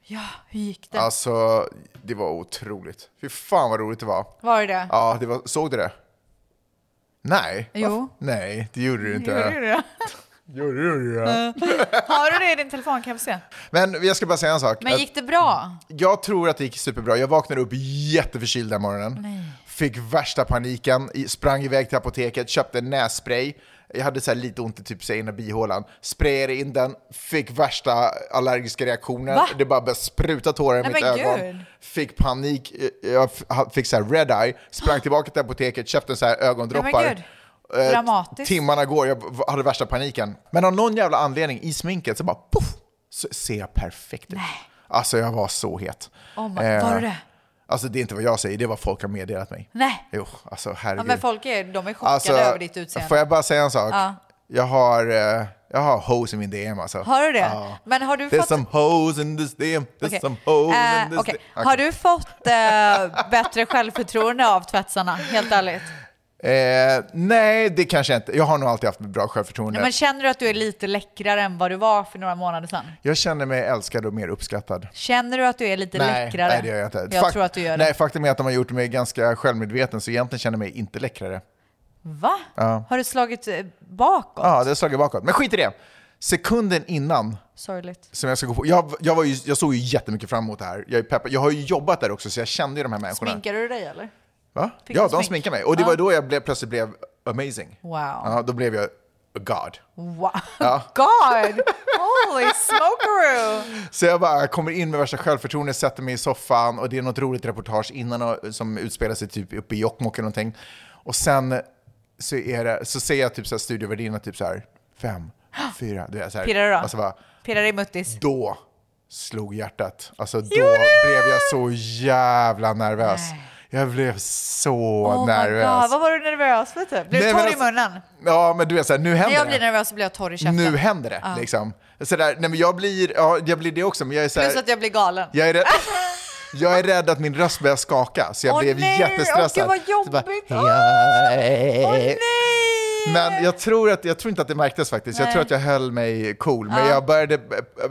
Ja, hur gick det? Alltså, det var otroligt. Fy fan vad roligt det var. Var det det? Ja, det var, såg du det? Nej. Jo. Varför? Nej, det gjorde du inte. Gjorde du det? <laughs> Gjorde du det? Har du det i din telefon kan jag få se? Men jag ska bara säga en sak. Men Att gick det bra? Jag tror att det gick superbra. Jag vaknade upp jätteförkyld den morgonen. Fick värsta paniken, i- sprang iväg till apoteket, köpte en nässpray. Jag hade så här lite ont i typ så här ena bihålan. Sprayade in den, fick värsta allergiska reaktionen. Va? Det bara började spruta tårar i Nej, mitt men ögon. gud. Fick panik, Eh, jag f- ha- fick så här red-eye. Sprang tillbaka till apoteket, köpte så här ögondroppar. Nej, men gud. Eh, Dramatiskt. Timmarna går, jag v- hade värsta paniken. Men av någon jävla anledning i sminket så bara poff, så ser jag perfekt ut. Alltså jag var så het. Oh my- var du det? Alltså det är inte vad jag säger, det är vad folk har meddelat mig. Nej. Jo, alltså Ja, herregud. men folk är, de är chockade Alltså, över ditt utseende. Får jag bara säga en sak? Ja. Jag har, eh, jag har hose i min DM alltså. Har du det? Ja. Men har du There's fått... some hose in this DM, there's Okej. some hose Eh, in this okej. DM. Har du fått eh, bättre självförtroende av tvättarna, helt ärligt? Eh, nej, det kanske jag inte. Jag har nog alltid haft bra självförtroende. Ja, men känner du att du är lite läckrare än vad du var för några månader sedan? Jag känner mig älskad och mer uppskattad. Känner du att du är lite Nej, läckrare? nej, det gör jag inte. Jag Fak- tror att du gör nej, det. faktum är att de har gjort mig ganska självmedveten, så egentligen känner jag mig inte läckrare. Va? Ja, Har du slagit eh, bakåt? ja det har slagit bakåt. Men skit i det! Sekunden innan Sorgligt. som jag ska gå på, jag, jag, var ju, jag såg ju jättemycket fram emot det här. Jag, är peppad. jag har ju jobbat där också, så jag kände ju de här människorna. Sminkar du dig eller? Va? Fick Ja, du de smink? sminkade mig. Och det Ja. var då jag blev, plötsligt blev amazing. Wow. Ja, då blev jag a god. Wow. Ja. <laughs> God! Holy smokeroo! Så jag bara kommer in med värsta självförtroende, sätter mig i soffan och det är något roligt reportage innan och- som utspelar sig typ uppe i Jokkmokk eller någonting. Och sen så, är det, så ser jag typ så här studiovärdinnan typ så här, fem, <gasps> fyra, du vet så här. Pirrar du då? Alltså bara, Pirrar i muttis? då slog hjärtat. Alltså då Gjorde det? blev jag så jävla nervös. Jag blev så Oh my God, nervös. vad var du nervös för typ? Blev du Nej, men torr i alltså, munnen? Ja, men du vet så här, nu händer När jag det. blir nervös så blir jag torr i käften. nu händer det Ja. liksom. Så där, nej men jag blir, ja, jag blir det också, men jag är så här, Plus att jag blir galen. Jag är rädd, jag är rädd att min röst börjar skaka, så jag Alltså. Åh blev nej, jättestressad. åh gud, vad Så bara, jobbigt. "Ja." nej. Men jag tror, att, jag tror inte att det märktes faktiskt. Jag Nej. tror att jag höll mig cool, men Ja. jag började eh,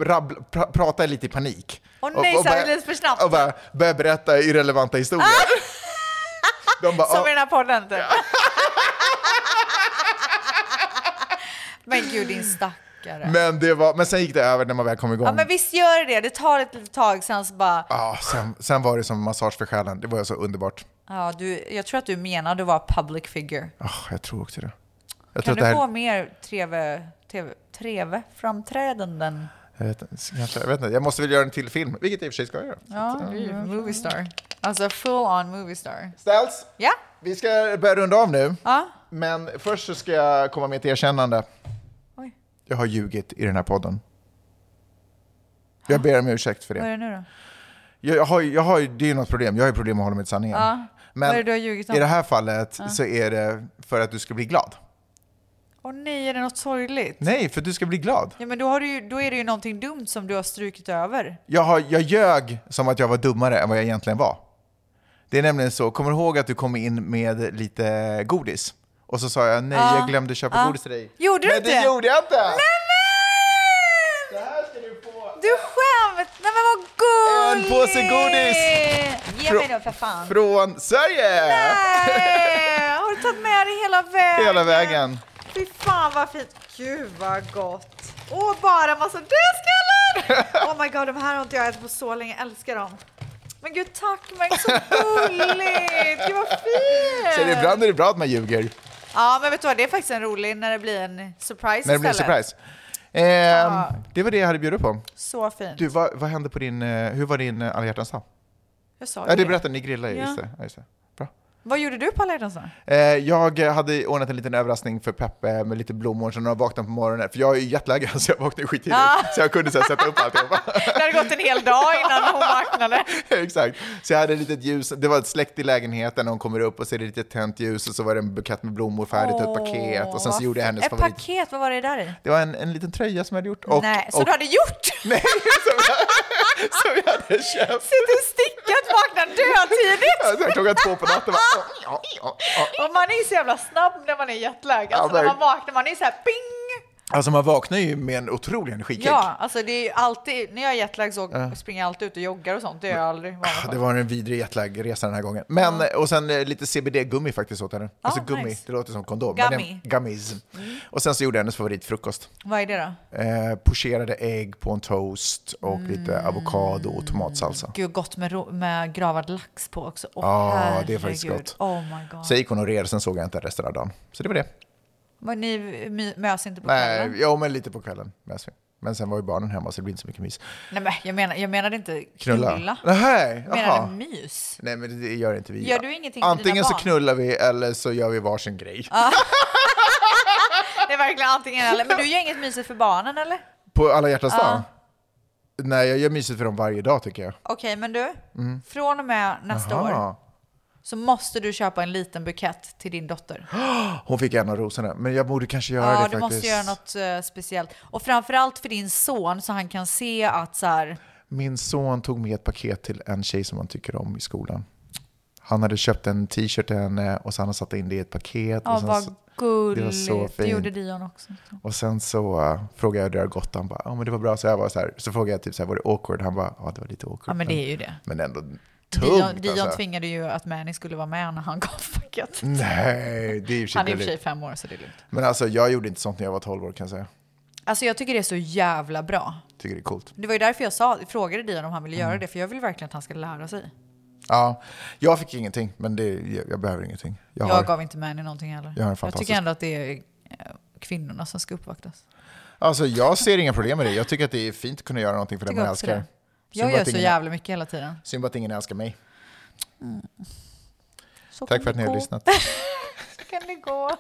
rabbla, pra, prata lite i panik. Åh nej, så här började- alldeles för snabbt. Och bara började berätta irrelevanta historier. <laughs> De bara, Som "Ah, i den här podden typ. <laughs> men gud din stackare. men, det var, men sen gick det över när man väl kom igång. Ja men visst gör det det. tar ett litet tag sen så bara, Ja, sen, sen var det som massage för själen. Det var så underbart. ja, du, jag tror att du menade att vara public figure. Ah, jag tror också det. Jag tror kan att du det här, få mer treve, treve, treve framträdanden? jag, vet, inte, så kanske, jag vet inte, jag måste väl göra en till film, vilket jag i och för sig ska göra. Ja, Mm. movie star. Alltså full on movie star. Ställs, Ja, vi ska börja runda av nu. ja. Men först så ska jag komma med ett erkännande. Oj. Jag har ljugit i den här podden. Jag ber om ursäkt för vad är det det. nu då? Jag, jag har, ju- jag har, ju- det är ju något problem, jag har ju problem med att hålla mig till sanningen. Ja. Men vad är det du har ljugit om? i det här fallet Ja. så är det för att du ska bli glad. Åh nej, är det något sorgligt? Nej, för att du ska bli glad. Ja, men då, har du ju, då är det ju någonting dumt som du har strukit över. Jag, har, jag ljög som att jag var dummare än vad jag egentligen var. Det är nämligen så, kommer du ihåg att du kom in med lite godis? Och så sa jag nej, Ja. jag glömde köpa Ja. godis till dig. Gjorde du Men inte det gjorde jag inte! Nej, men! Det här ska du få! Du skämt! Nej men vad gulligt! En påse godis! Ge mig då för fan! Från Sverige! Nej! Har du tagit med dig hela vägen? Hela vägen. Fy fan vad fint! Gud vad gott! Åh, bara massa dödskallar! Oh my god, de här har inte jag ätit på så länge, jag älskar dem. Men gud tack Max, så gulligt! Gud vad fint! Så det, ibland är det bra att man ljuger. Ja men vet du vad, det är faktiskt en rolig när det blir en surprise när det blir en istället. surprise. Ehm, Ja. Det var det jag hade bjudit på. Så fint. Du, vad, vad hände på din, eh, hur var din eh, alla hjärtans dag? Jag sa Ja, ju du berättade, ni grillade ju, Ja. just det. Ja, just det. Bra. Vad gjorde du på alla <laughs> hjärtans dag? Eh, Jag hade ordnat en liten överraskning för Peppe med lite blommor, så när jag vaknade på morgonen, för jag är ju jetlaggad <laughs> så jag vaknade skittidigt, Ah. så jag kunde så här, sätta upp alltihopa. <laughs> Det hade gått en hel dag innan hon vaknade. Exakt. Så jag hade ett litet ljus, det var ett släkt i lägenheten, hon kommer upp och ser det lite tänt ljus och så var det en bukett med blommor färdigt och ett paket och sen så Åh, gjorde jag hennes Ett favorit. paket, vad var det där i? Det var en, en liten tröja som jag hade gjort och, Nej, så och du hade gjort? <laughs> Nej, som jag hade köpt. Sitter stickat, vaknar <laughs> Så här, dödtidigt. klockan två på natten. Bara, "Åh, ja, <laughs> ja, ja." Och man är så jävla snabb när man är jetlag. Alltså Ja, när men- man vaknar, man är så här ping! Alltså man vaknar ju med en otrolig energikick. Ja, alltså det är ju alltid, när jag är jetlag så Ja. springer jag alltid ut och joggar och sånt. Det gör jag aldrig. vanligt. Ja, <laughs> Det var en vidrig jetlagresa den här gången. Men, Och sen eh, lite CBD-gummi faktiskt åt henne. alltså gummi, nice. Mm. det låter som kondom. Gummy. Men det, gummies. Och sen så gjorde jag hennes favoritfrukost. Vad är det då? Eh, pocherade ägg på en toast och Mm. lite avokado och tomatsalsa. Gud, gott med, ro- med gravad lax på också. Åh, Ja, det är faktiskt herregud. gott. Oh my god. Så jag gick hon och red, sen såg jag inte resten av dagen. Så det var det. Men ni my- mös inte på Nej, kvällen? jo, men lite på kvällen. Men så- Men sen var ju barnen hemma så det blir inte så mycket mys. Nej, men jag, menar, jag menade inte Knulla? knulla. Nej, jag jaha. menade mys. Nej, men det gör inte vi. Gör du ingenting för Antingen dina så barn? knullar vi eller så gör vi varsin grej. Det är verkligen antingen eller. Men du gör inget mysigt för barnen eller? På alla hjärtans Ja. dag? Nej, jag gör mysigt för dem varje dag tycker jag. Okej, men du. Mm. Från och med nästa år Aha. så måste du köpa en liten bukett till din dotter. Hon fick en av rosorna, men jag borde kanske göra ja, det du faktiskt. måste göra något eh, speciellt. Och framförallt för din son så han kan se att så här, Min son tog med ett paket till en tjej som han tycker om i skolan. Han hade köpt en t-shirt till henne och sen han satt in det i ett paket. ja och sen så, vad det var gulligt. så Det fint. gjorde Dion också. och sen så eh, frågade jag hur det hade gått. Han bara, ja men det var bra. Så, jag var så, här, så frågade jag typ så här, var det awkward? Han bara, ja det var lite awkward. Ja, men det är ju det. Men ändå Dion, tungt Dion alltså. Mm, tvingade ju att Manny skulle vara med när han gav paketet. Nej, det är i och för sig Han är i och för sig gulligt. fem år så det är lugnt. Men alltså jag gjorde inte sånt när jag var 12 år kan jag säga. Alltså jag tycker det är så jävla bra. Tycker det är coolt. Det var ju därför jag sa, frågade Dion om han ville Mm. göra det, för jag vill verkligen att han ska lära sig. Ja, jag fick ingenting, men det, jag, jag behöver ingenting. Jag Jag, har, gav inte Manny någonting heller. Jag har en tycker fantastisk- ändå att det är eh, kvinnorna som ska uppvaktas. alltså, jag ser inga problem med det. Jag tycker att det är fint att kunna göra någonting för den Tycker man också älskar. det. Synd Jag bara gör att så ingen- jävla mycket hela tiden. Synd bara att ingen älskar mig. Så Tack kan för att det ni har gå. lyssnat. Så kan det gå.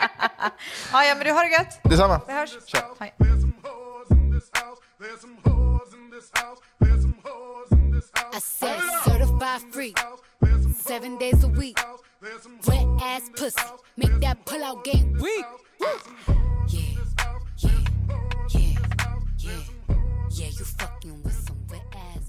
<laughs> ja, ja, men du har det gött. Detsamma. Vi hörs. Tja. Hej. I said certified free. Seven days a week. Wet ass pussy. Make that pull out game weak. Uh, Yeah, yeah, yeah, yeah. Yeah, you fucking with some wet ass